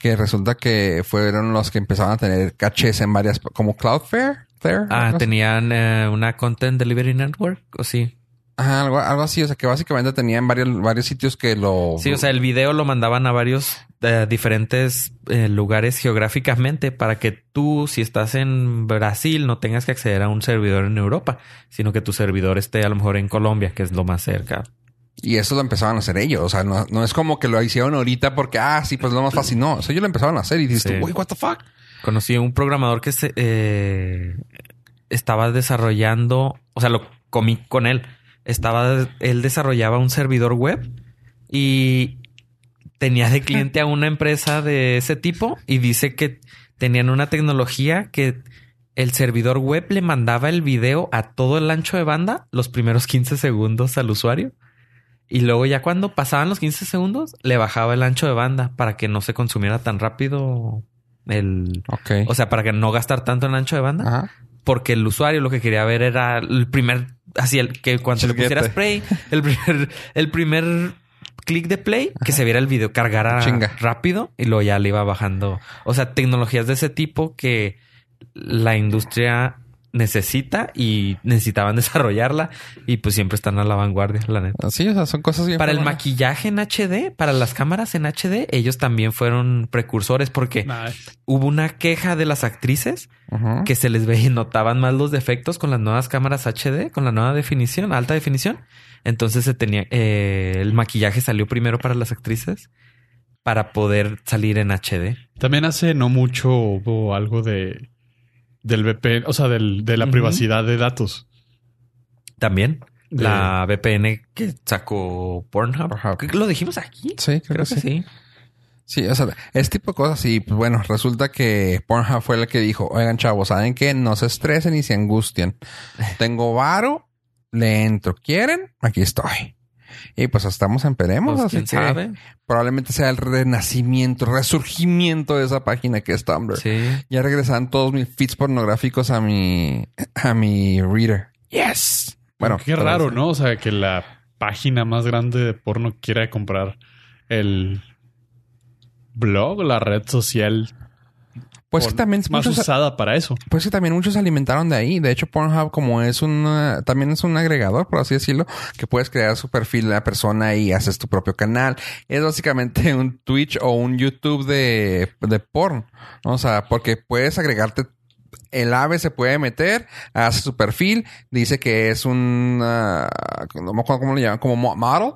que resulta que fueron los que empezaron a tener cachés en varias, como Cloudflare. Flare,
Ah,
algo así.
tenían eh, una Content Delivery Network, ¿o sí?
Ajá, algo, algo así, o sea que básicamente tenían varios, varios sitios que lo...
Sí, o sea, el video lo mandaban a varios eh, diferentes eh, lugares geográficamente para que tú, si estás en Brasil, no tengas que acceder a un servidor en Europa, sino que tu servidor esté a lo mejor en Colombia, que es lo más cerca.
Y eso lo empezaban a hacer ellos, o sea, no, no es como que lo hicieron ahorita porque, ah, sí, pues lo más fácil, no, o sea, ellos lo empezaron a hacer y dices, tú,
Sí.
"Güey, what the fuck.
Conocí a un programador que se, eh, estaba desarrollando, o sea, lo comí con él. Estaba, él desarrollaba un servidor web y tenía de cliente a una empresa de ese tipo y dice que tenían una tecnología que el servidor web le mandaba el video a todo el ancho de banda los primeros 15 segundos al usuario. Y luego ya cuando pasaban los 15 segundos, le bajaba el ancho de banda para que no se consumiera tan rápido el...
Ok. Ah.
O sea, para que no gastar tanto en ancho de banda
Ajá.
porque el usuario lo que quería ver era el primer, así el que cuando le
Chisguete.
pusieras play, el primer, el primer clic de play, que se viera el video cargara
Chinga.
rápido y luego ya le iba bajando. O sea, tecnologías de ese tipo que la industria necesita y necesitaban <laughs> desarrollarla y pues siempre están a la vanguardia, la neta.
Sí, o sea, son cosas bien
Para el
fregonas.
maquillaje en HD, para las cámaras en HD, ellos también fueron precursores porque
Nice.
hubo una queja de las actrices
Ujú.
que se les veía y notaban más los defectos con las nuevas cámaras HD, con la nueva definición, alta definición. Entonces se tenía eh, el maquillaje salió primero para las actrices para poder salir en HD.
También hace no mucho hubo algo de del VPN, o sea, del- de la
Ujú.
privacidad de datos.
También
De-
la VPN que sacó Pornhub.
Pornhub.
¿Lo dijimos aquí?
Sí, creo,
Creo
que,
que
sí.
sí.
Sí, o sea, ese tipo de cosas. Y pues, bueno, resulta que Pornhub fue el que dijo: Oigan, chavos, ¿saben qué? No se estresen y se angustien. Tengo varo, le entro. ¿Quieren? Aquí estoy. Y pues estamos en Peremos.
Pues,
así
¿Quién
que
sabe?
probablemente sea el renacimiento, resurgimiento de esa página que es Tumblr.
Sí.
Ya regresan todos mis feeds pornográficos a mi, a mi reader. Yes. Bueno,
Qué
pero-
raro, ¿no? O sea, que la página más grande de porno quiera comprar el blog, la red social
Pues que
porno
también
más
muchos-
usada para eso.
Pues que también muchos se alimentaron de ahí. De hecho, Pornhub, como es un... eh, También es un agregador, por así decirlo, que puedes crear su perfil de la persona y haces tu propio canal. Es básicamente <laughs> un Twitch o un YouTube de, de porn. ¿no? O sea, porque puedes agregarte... El ave se puede meter, hace su perfil, dice que es un... ah, no me acuerdo cómo lo llaman, como mo- model.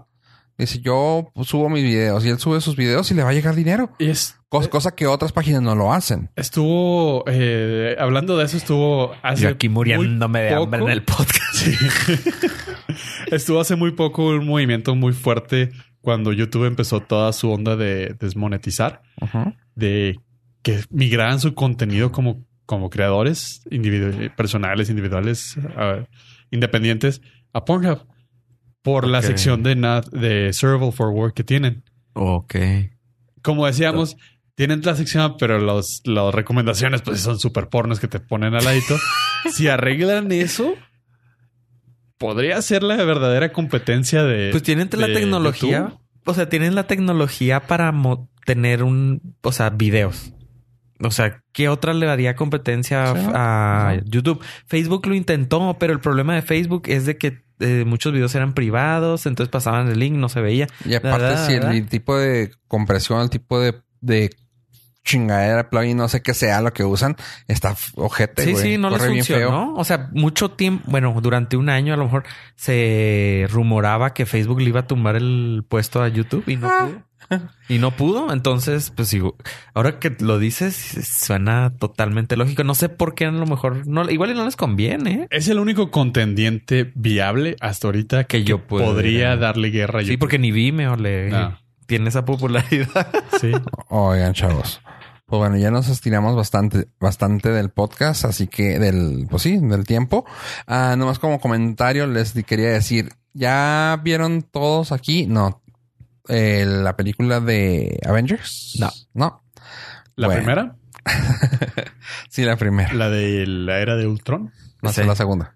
Dice, yo subo mis videos y él sube sus videos y le va a llegar dinero.
Y es,
Cos- cosa que otras páginas no lo hacen.
estuvo, eh, hablando de eso, estuvo hace
Yo aquí
muy <laughs>
muriéndome de hambre en
poco-
el podcast.
Sí. Estuvo hace muy poco un movimiento muy fuerte cuando YouTube empezó toda su onda de desmonetizar,
Ujú.
de que migraran su contenido como, como creadores individu- personales, individuales, ah, independientes a Pornhub por la
Ok.
sección de, na- de Serval for Work que tienen.
Ok.
Como decíamos, tienen la sección, pero los, las recomendaciones pues son super pornos que te ponen al ladito. si arreglan eso, podría ser la verdadera competencia de...
Pues tienen la
Eh, de
tecnología.
YouTube.
O sea, tienen la tecnología para mo- tener un, o sea, videos. O sea, ¿qué otra le daría competencia a-
Sí.
a
Ajá.
YouTube? Facebook lo intentó, pero el problema de Facebook es de que eh, muchos videos eran privados, entonces pasaban el link, no se veía.
Y aparte,
¿Verdad?
si el
¿Verdad?
tipo de compresión, el tipo de, de chingadera, plugin, no sé qué sea lo que usan, está f- ojete,
Sí,
güey.
sí, no les
Corre bien feo.
funcionó. O sea, mucho tiempo, bueno, durante un año a lo mejor se rumoraba que Facebook le iba a tumbar el puesto a YouTube y no pudo. Y no pudo. Entonces, pues digo, ahora que lo dices, suena totalmente lógico. No sé por qué a lo mejor no, igual y no les conviene. ¿eh?
Es el único contendiente viable hasta ahorita que,
Que yo
que
pueda-
podría darle guerra a
Sí, porque ni Vimeo le
No.
tiene esa popularidad.
Sí.
Oigan, chavos. Pues bueno, ya nos estiramos bastante, bastante del podcast, así que del, pues sí, del tiempo. Ah, nomás como comentario les di- quería decir, ¿ya vieron todos aquí? No. Eh, la película de Avengers?
No.
No.
La
Bueno.
primera,
Sí, la primera.
la de la era de Ultron,
No sé,
Sí.
la segunda.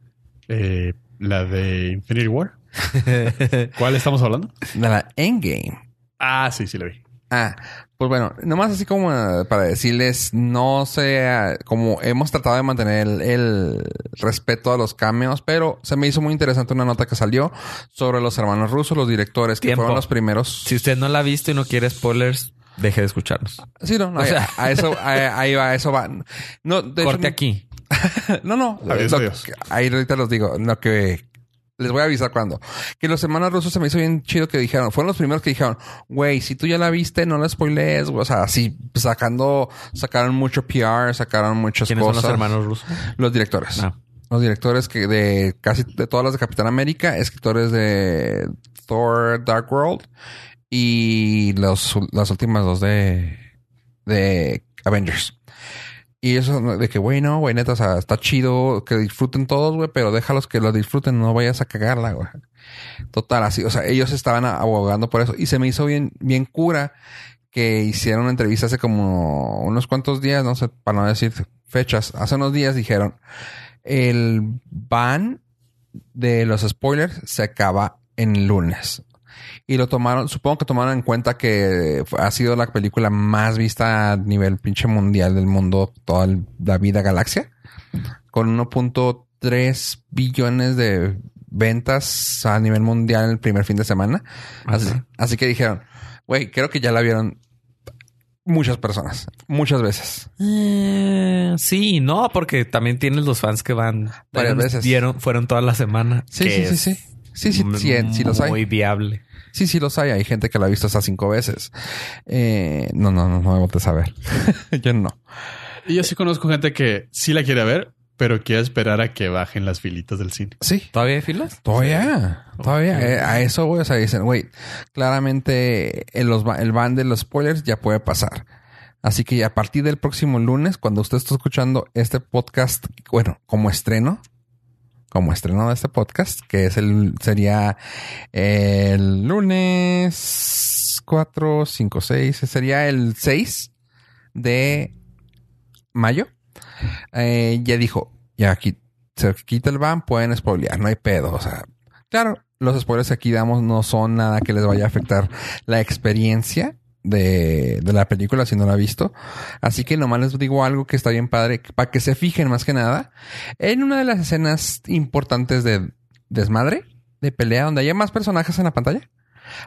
eh, la de Infinity War.
<laughs>
¿Cuál estamos hablando?
De la Endgame.
Ah, sí, sí la vi.
Ah, pues bueno, nomás así como eh, para decirles, no sé, ah, como hemos tratado de mantener el, el respeto a los cameos, pero se me hizo muy interesante una nota que salió sobre los hermanos rusos, los directores que
Tiempo.
fueron los primeros.
<laughs> si usted no la ha visto y no quiere spoilers, deje de escucharnos.
Sí, no, no, ahí- a, eso,
<laughs>
a- ahí va, a eso va. No, de hecho,
Corte aquí.
no, no.
Adiós,
Lo-
adiós.
Ahí ahorita los digo, no que les voy a avisar cuando. Que los hermanos rusos se me hizo bien chido que dijeron, fueron los primeros que dijeron, güey, si tú ya la viste, no la spoilees, güey. O sea, sí, sacando, sacaron mucho PR, sacaron muchas
¿Quiénes
cosas.
son los hermanos rusos?
Los directores.
No.
Los directores que de casi de todas las de Capitán América, escritores de Thor Dark World y los, las últimas dos de, de Avengers. Y eso de que, güey, no, güey, neta, o sea, está chido que disfruten todos, güey, pero déjalos que lo disfruten, no vayas a cagarla, güey. Total, así, o sea, ellos estaban abogando por eso. Y se me hizo bien, bien cura que hicieron una entrevista hace como unos cuantos días, no sé, para no decir fechas, hace unos días dijeron, el ban de los spoilers se acaba en lunes. y lo tomaron, supongo que tomaron en cuenta que ha sido la película más vista a nivel pinche mundial del mundo, toda el- la vida galaxia, con 1.3 billones de ventas a nivel mundial el primer fin de semana.
Ah,
Así, así que dijeron, güey, creo que ya la vieron muchas personas, muchas veces.
Eh, sí, no, porque también tienes los fans que van
Varias
ellos
veces.
Dieron, fueron toda la semana.
Sí,
que
sí, sí,
es
sí. Sí, sí,
m-
sí, en- sí los hay.
Muy viable.
Sí, sí los hay. Hay gente que la ha visto hasta cinco veces. Eh, no, no, no, no me voy a saber. <laughs> Yo no.
Y yo sí conozco gente que sí la quiere ver, pero quiere esperar a que bajen las filitas del cine.
Sí.
¿Todavía hay filas?
Todavía, todavía. Eh, a eso, güey, o sea, dicen, güey, claramente el, los, ba- el ban de los spoilers ya puede pasar. Así que a partir del próximo lunes, cuando usted está escuchando este podcast, bueno, como estreno, como estreno de este podcast, que es el, sería el lunes 4, 5, 6, sería el 6 de mayo. Eh, ya dijo, ya aquí se quita el ban, pueden spoilear, no hay pedo. O sea, claro, los spoilers que aquí damos no son nada que les vaya a afectar la experiencia de, de la película si no la ha visto. Así que nomás les digo algo que está bien padre, para que se fijen más que nada, en una de las escenas importantes de desmadre, de pelea, donde haya más personajes en la pantalla.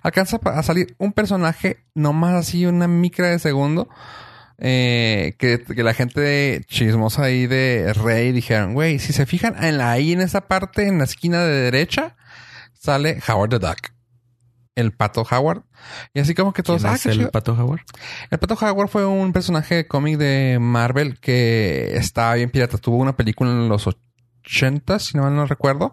Alcanza pa- a salir un personaje nomás así una micra de segundo eh, que, que la gente chismosa ahí de Rey dijeron, güey, si se fijan en la, ahí en esa parte, en la esquina de derecha, sale Howard the Duck. El pato Howard. Y así como que todos...
¿Quién
"Ah,
es
qué
el
chido".
pato jaguar?
El Pato Jaguar fue un personaje de cómic de Marvel que estaba bien pirata. Tuvo una película en los 80, si no mal no recuerdo.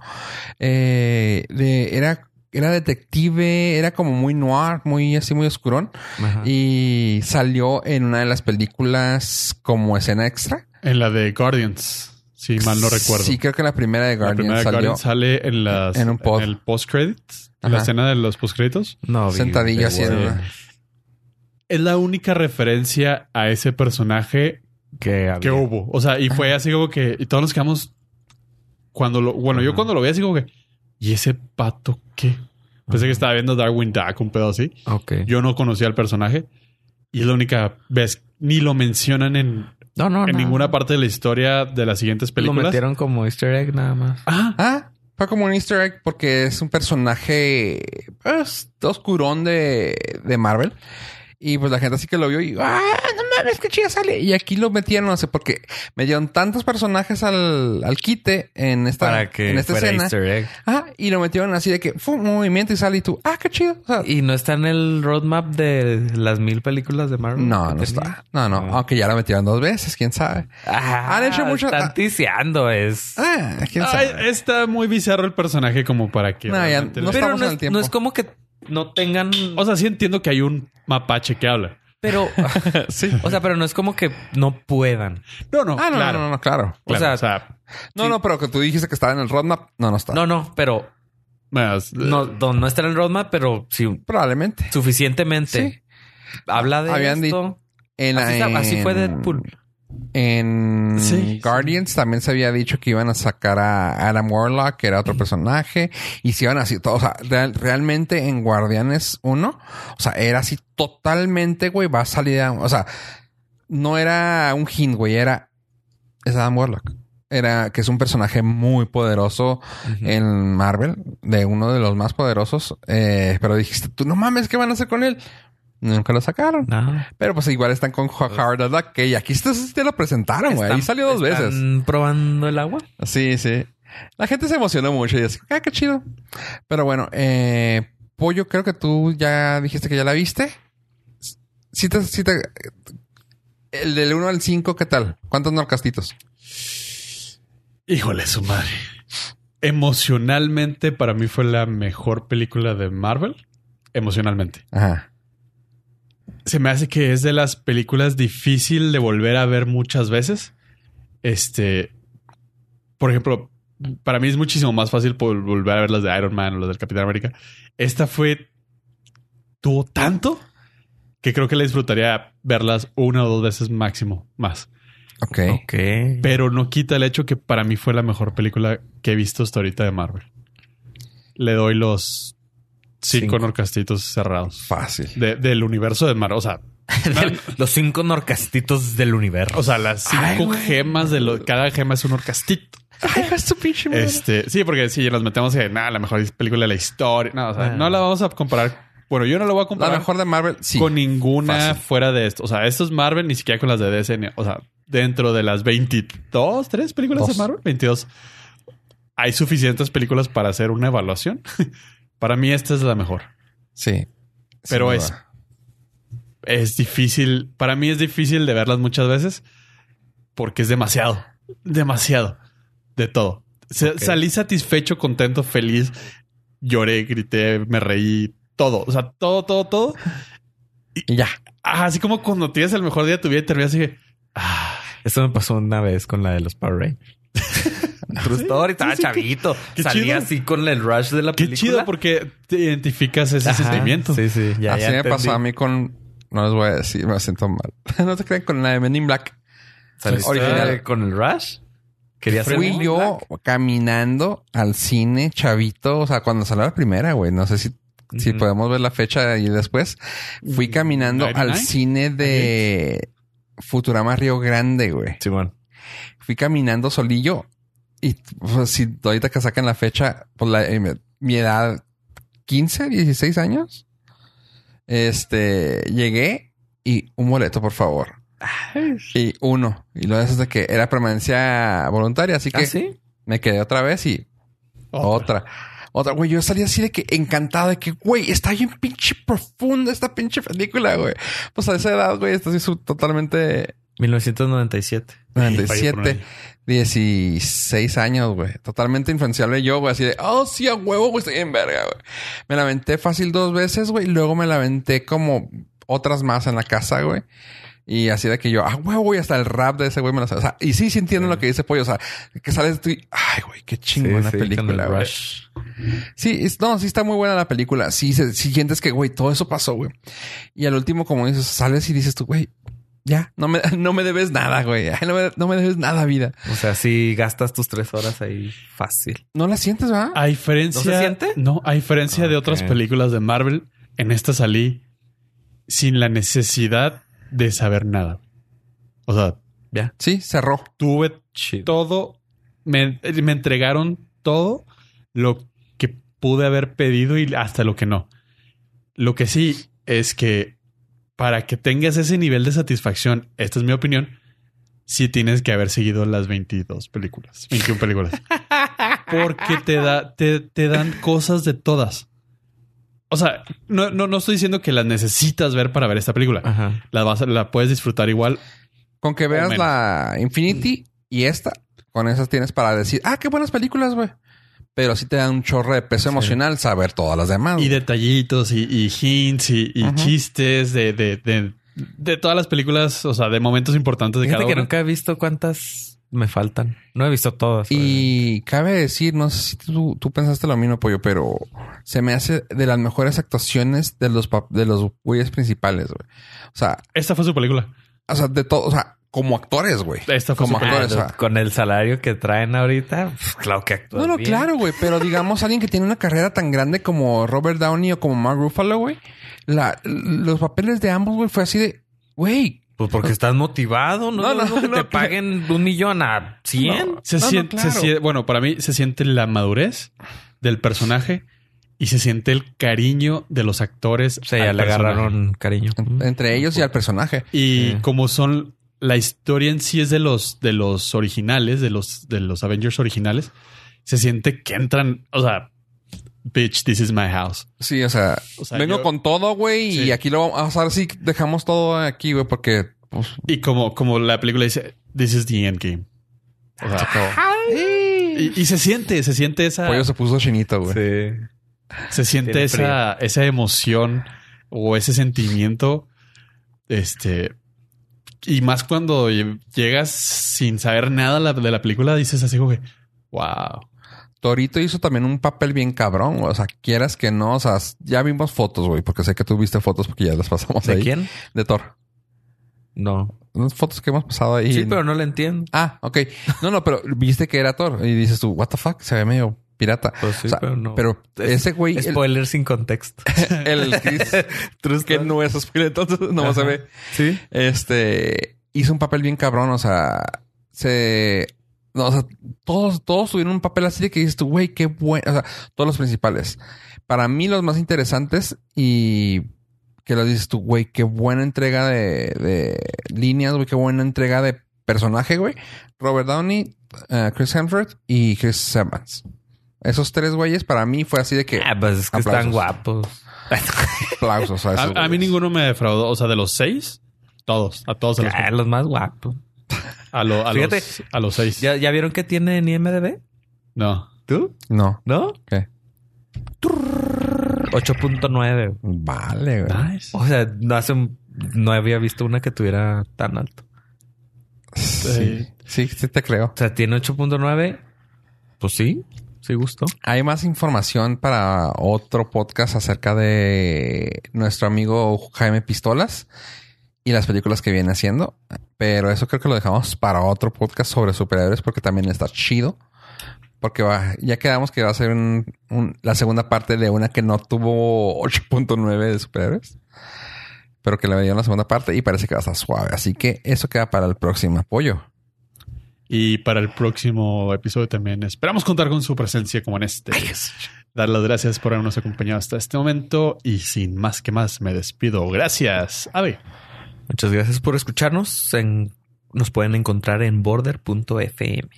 Eh, de- era, era detective, era como muy noir, muy así, muy oscurón.
Ajá.
Y salió en una de las películas como escena extra.
En la de Guardians, si mal no recuerdo.
Sí, creo que la primera de
la
Guardian
primera de
salió
Guardians sale en, las,
en un pod.
el post-credit,
Ajá.
en la escena de los post-créditos.
no, vi-
sentadillo
vi-
así en
vi-
una-
Es la única referencia a ese personaje
que había.
que hubo. O sea, y fue así como que y todos nos quedamos cuando lo, bueno, yo
Ajá.
cuando lo vi así como que, ¿y ese pato qué? Pensé que estaba viendo Darwin Duck, un pedo así.
Ok.
Yo no conocía al personaje y es la única vez, ni lo mencionan en,
no, no,
en
no.
ninguna parte de la historia de las siguientes
Lo
películas.
metieron como easter egg nada más.
Ah,
Ah, fue como un easter egg porque es un personaje pues, oscurón de, de Marvel. Y pues la gente así que lo vio y... ¡Ah! ¡No mames! ¡Qué chida sale! Y aquí lo metieron, no sé, porque metieron tantos personajes al, al quite en esta,
para que
en esta
fuera
escena.
easter egg.
Ah, y lo metieron así de que... Fue un movimiento y sale y tú... ¡Ah! ¡Qué chido! O sea,
Y no está en el roadmap de las mil películas de Marvel.
no,
que
no
tenía? Ah.
está. No, no.
No.
Aunque ya lo metieron dos veces. ¿Quién sabe?
Ah,
Han hecho mucho-
Están tiseando, es.
Ah, ¿quién
ah,
sabe?
está muy bizarro el personaje como para que...
No, ya
realmente
no
le-
estamos
pero no
en
es,
el tiempo.
no es como que no tengan.
O sea, sí entiendo que hay un mapache que habla.
pero. O sea, pero no es como que no puedan.
No, no,
Ah, no,
claro.
no, no, no, claro.
claro,
O sea,
o sea,
No,
Sí.
no, pero que tú dijiste que estaba en el roadmap. No, no está.
No, no, pero
más-
no, no, no está en el roadmap, pero sí,
Probablemente.
suficientemente. Habla de
Habían
esto.
En,
Así, está- así fue Deadpool.
En
Sí,
Guardians también se había dicho que iban a sacar a Adam Warlock, que era otro personaje, y se iban así todo. O sea, real- realmente en Guardianes 1, o sea, era así totalmente, güey, va a salir. Adam- o sea, no era un hint, güey, era. Es Adam Warlock. Era que es un personaje muy poderoso en Marvel, de uno de los más poderosos. eh, pero dijiste, tú no mames, ¿qué van a hacer con él? Nunca lo sacaron.
No.
Pero pues igual están con Ho- Howard the Duck, que aquí esto sí te lo presentaron, Ah, güey. Ahí
Están-
salió dos
están
veces.
probando el agua.
Sí, sí. La gente se emocionó mucho y así, ah, qué chido. Pero bueno, eh, Pollo, creo que tú ya dijiste que ya la viste. Si te, si te, el del 1 al 5, ¿qué tal? ¿Cuántos norcastitos?
Híjole, su madre. Emocionalmente, para mí fue la mejor película de Marvel. Emocionalmente.
Ajá.
Se me hace que es de las películas difícil de volver a ver muchas veces. Este. Por ejemplo, para mí es muchísimo más fácil por volver a ver las de Iron Man o las del Capitán América. Esta fue. Tuvo tanto que creo que la disfrutaría verlas una o dos veces máximo más.
Ok.
Ok.
Pero no quita el hecho que para mí fue la mejor película que he visto hasta ahorita de Marvel. Le doy los cinco,
Cinco.
norcastitos cerrados
Fácil.
de- del universo de Mar. O sea,
<laughs> Los cinco norcastitos del universo.
o sea, las
Ay,
cinco
güey.
gemas de lo- cada gema es un orcastito. Este, sí, porque si nos metemos en nada, la mejor película de la historia. No, o sea,
Ah.
no la vamos a comparar. Bueno, yo no la voy a
La
comparar
mejor de Marvel, sí.
con ninguna
fácil.
fuera de esto. O sea, esto es Marvel, ni siquiera con las de DC. ni- O sea, dentro de las 22, 3 películas
Dos.
de Marvel, 22. Hay suficientes películas para hacer una evaluación. <laughs> para mí esta es la mejor.
Sí. Sin
Pero
duda.
es- Es difícil, para mí es difícil de verlas muchas veces porque es demasiado, demasiado de todo. Se-
Ok.
Salí satisfecho, contento, feliz, lloré, grité, me reí, todo, o sea, todo, todo, todo.
Y ya.
Ah, así como cuando tienes el mejor día de tu vida y terminas así. de, Ah,
Eso me pasó una vez con la de los Power
<laughs>
Rangers. True story, estaba
Sí, sí,
chavito.
qué
Salí
chido.
así con el rush de la
qué
película.
chido porque te identificas ese
Ajá,
sentimiento.
Sí, sí. Ya,
Así
ya
me
entendí.
pasó a mí con. No les voy a decir, me siento mal. <laughs> no te crean con la de Men in Black.
¿Saliste
Original.
con el rush? Quería ser
Fui
Black.
yo caminando al cine, chavito. O sea, cuando salió la primera, güey. No sé si, si
Ujú. Mm,
podemos ver la fecha y después. Fui caminando al
99?
cine de Futurama Río Grande, güey.
Simón.
Fui caminando solillo. Y pues, si ahorita que sacan la fecha, pues la- eh, mi- mi edad, 15, 16 años. Este, llegué y un boleto, por favor. Y uno. Y lo de eso es de que era permanencia voluntaria, así que
¿Ah, sí?
me quedé otra vez y otra. Otra, güey, yo salí así de que encantado de que, güey, está bien pinche profunda esta pinche película, güey. Pues a esa edad, güey, estás así su- totalmente
1997.
Ahí, por
97,
ahí.
16 años, güey. Totalmente influenciable yo, güey, así de, oh, sí, a huevo, güey, estoy en verga, güey. Me la aventé fácil dos veces, güey, y luego me la aventé como otras más en la casa, güey. Y así de que yo, ah, huevo, y hasta el rap de ese güey me la sé. O sea, y sí, sí entiendo lo que dice Pollo. O sea, que sales tú y, ay, güey, qué chingona
Sí, sí, con
película,
el
güey.
rush.
Sí, es- no, sí está muy buena la película. Sí, se, sí sientes que, güey, todo eso pasó, güey. Y al último, como dices, sales y dices tú, güey, ya, no me, <laughs> no me debes nada, güey. Ay, No me, no me debes nada, vida.
O sea, si gastas tus tres horas ahí fácil.
No la sientes, ¿verdad?
A diferencia.
¿No se siente?
No, a diferencia de otras
Ok.
películas de Marvel, en esta salí sin la necesidad de saber nada. O sea,
Sí, cerró.
tuve
Chido.
todo, me, me entregaron todo lo que pude haber pedido y hasta lo que no. Lo que sí es que para que tengas ese nivel de satisfacción, esta es mi opinión, sí tienes que haber seguido las 22 películas, 21 películas. Porque te, da, te, te dan cosas de todas. O sea, no, no, no estoy diciendo que las necesitas ver para ver esta película.
Ajá.
La, vas, a- la puedes disfrutar igual
Con que
O
veas
menos.
la Infinity y esta, con esas tienes para decir, ah, qué buenas películas, güey. Pero sí te da un chorro de peso emocional saber todas las demás. güey.
Y detallitos y, y hints y, y
Ajá.
chistes de, de, de, de todas las películas, o sea, de momentos importantes de
Fíjate
cada
que
una.
nunca he visto cuántas me faltan. No he visto todas.
Y cabe decir, no sé si tú, tú pensaste lo mismo, Pollo, pero se me hace de las mejores actuaciones de los pap- de los güeyes principales, güey. O sea,
Esta fue su película.
o sea, de todo, o sea, como actores, güey.
Esta fue
Como
su película.
actores.
Ah,
o sea.
lo- con el salario que traen ahorita, pf, claro que actúan
No, no,
bien.
claro, güey, pero digamos alguien que tiene una carrera tan grande como Robert Downey o como Mark Ruffalo, güey, la- los papeles de ambos, güey, fue así de, güey,
Pues porque estás motivado, ¿no?
No,
No,
no,
no, que
no,
te
claro.
paguen un millón a cien.
Se
No, no,
siente, se
claro.
siente- bueno, para mí se siente la madurez del personaje y se siente el cariño de los actores.
O sea, ya
al
le
personaje.
agarraron cariño.
en- entre ellos y al personaje.
Y
Sí.
como son la historia en sí es de los de los originales, de los de los Avengers originales, se siente que entran, o sea, bitch, this is my house.
Sí, o sea,
O sea,
vengo
yo-
con todo, güey, y
Sí.
aquí lo vamos a pasar si dejamos todo aquí, güey, porque pues,
Y como, como la película dice, this is the end game. O sea, y, y se siente, se siente esa,
Pollo se puso chinito, güey.
Sí.
se siente
tiene
esa, esa emoción o ese sentimiento. Este, y más cuando lle- llegas sin saber nada la- de la película, dices así como que, wow.
Torito hizo también un papel bien cabrón. güey. O sea, quieras que no. O sea, ya vimos fotos, güey, porque sé que tú viste fotos porque ya las pasamos
¿De
ahí.
quién?
De Thor.
No.
Unas fotos que hemos pasado ahí.
Sí, pero no le entiendo.
Ah, ok. No, no, pero viste que era Thor. Y dices tú, what the fuck? Se ve medio pirata.
Pues sí,
O sea,
pero no.
Pero ese güey, el,
Spoiler sin
<laughs>
contexto. <laughs>
el Chris,
True
que
story.
no es spoiler, entonces no se
Ajá.
ve.
Sí.
Este hizo un papel bien cabrón. O sea, se. No, o sea, todos, todos tuvieron un papel así de que dices tú, güey, qué bueno. O sea, todos los principales. Para mí, los más interesantes y que los dices tú, güey, qué buena entrega de, de líneas, güey, qué buena entrega de personaje, güey. Robert Downey, eh, Chris Hemsworth y Chris Evans. Esos tres güeyes para mí fue así de que
Ah, pues es que
Aplausos.
están guapos.
aplausos a esos
A, a mí
güeyes.
ninguno me defraudó. O sea, de los seis, todos. A todos. A los,
Ah, los más guapos.
a lo- a
Fíjate.
los, a los seis.
¿Ya, ya vieron que tiene en IMDB?
No.
¿Tú?
No.
¿No?
¿Qué?
8.9.
Vale, güey.
Nice.
O sea, no hace un- no había visto una que tuviera tan alto.
Sí, sí, sí te creo.
O sea, tiene 8.9. Pues sí, sí gustó.
Hay más información para otro podcast acerca de nuestro amigo Jaime Pistolas y las películas que viene haciendo. Pero eso creo que lo dejamos para otro podcast sobre superhéroes porque también está chido. Porque va- ya quedamos que va a ser un- un- la segunda parte de una que no tuvo 8.9 de superhéroes. Pero que le dieron la segunda parte y parece que va a estar suave. Así que eso queda para el próximo apoyo.
Y para el próximo episodio también esperamos contar con su presencia como en este. Dar las gracias por habernos acompañado hasta este momento y sin más que más me despido. Gracias. Ave.
Muchas gracias por escucharnos. En- nos pueden encontrar en border.fm.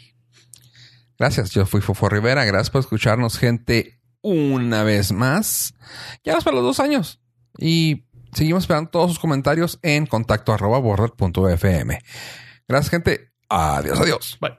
Gracias, yo fui Fofo Rivera. Gracias por escucharnos, gente, una vez más. Ya vamos para los dos años. Y seguimos esperando todos sus comentarios en contacto arroba border punto fm. Gracias, gente. Adiós, adiós.
Bye.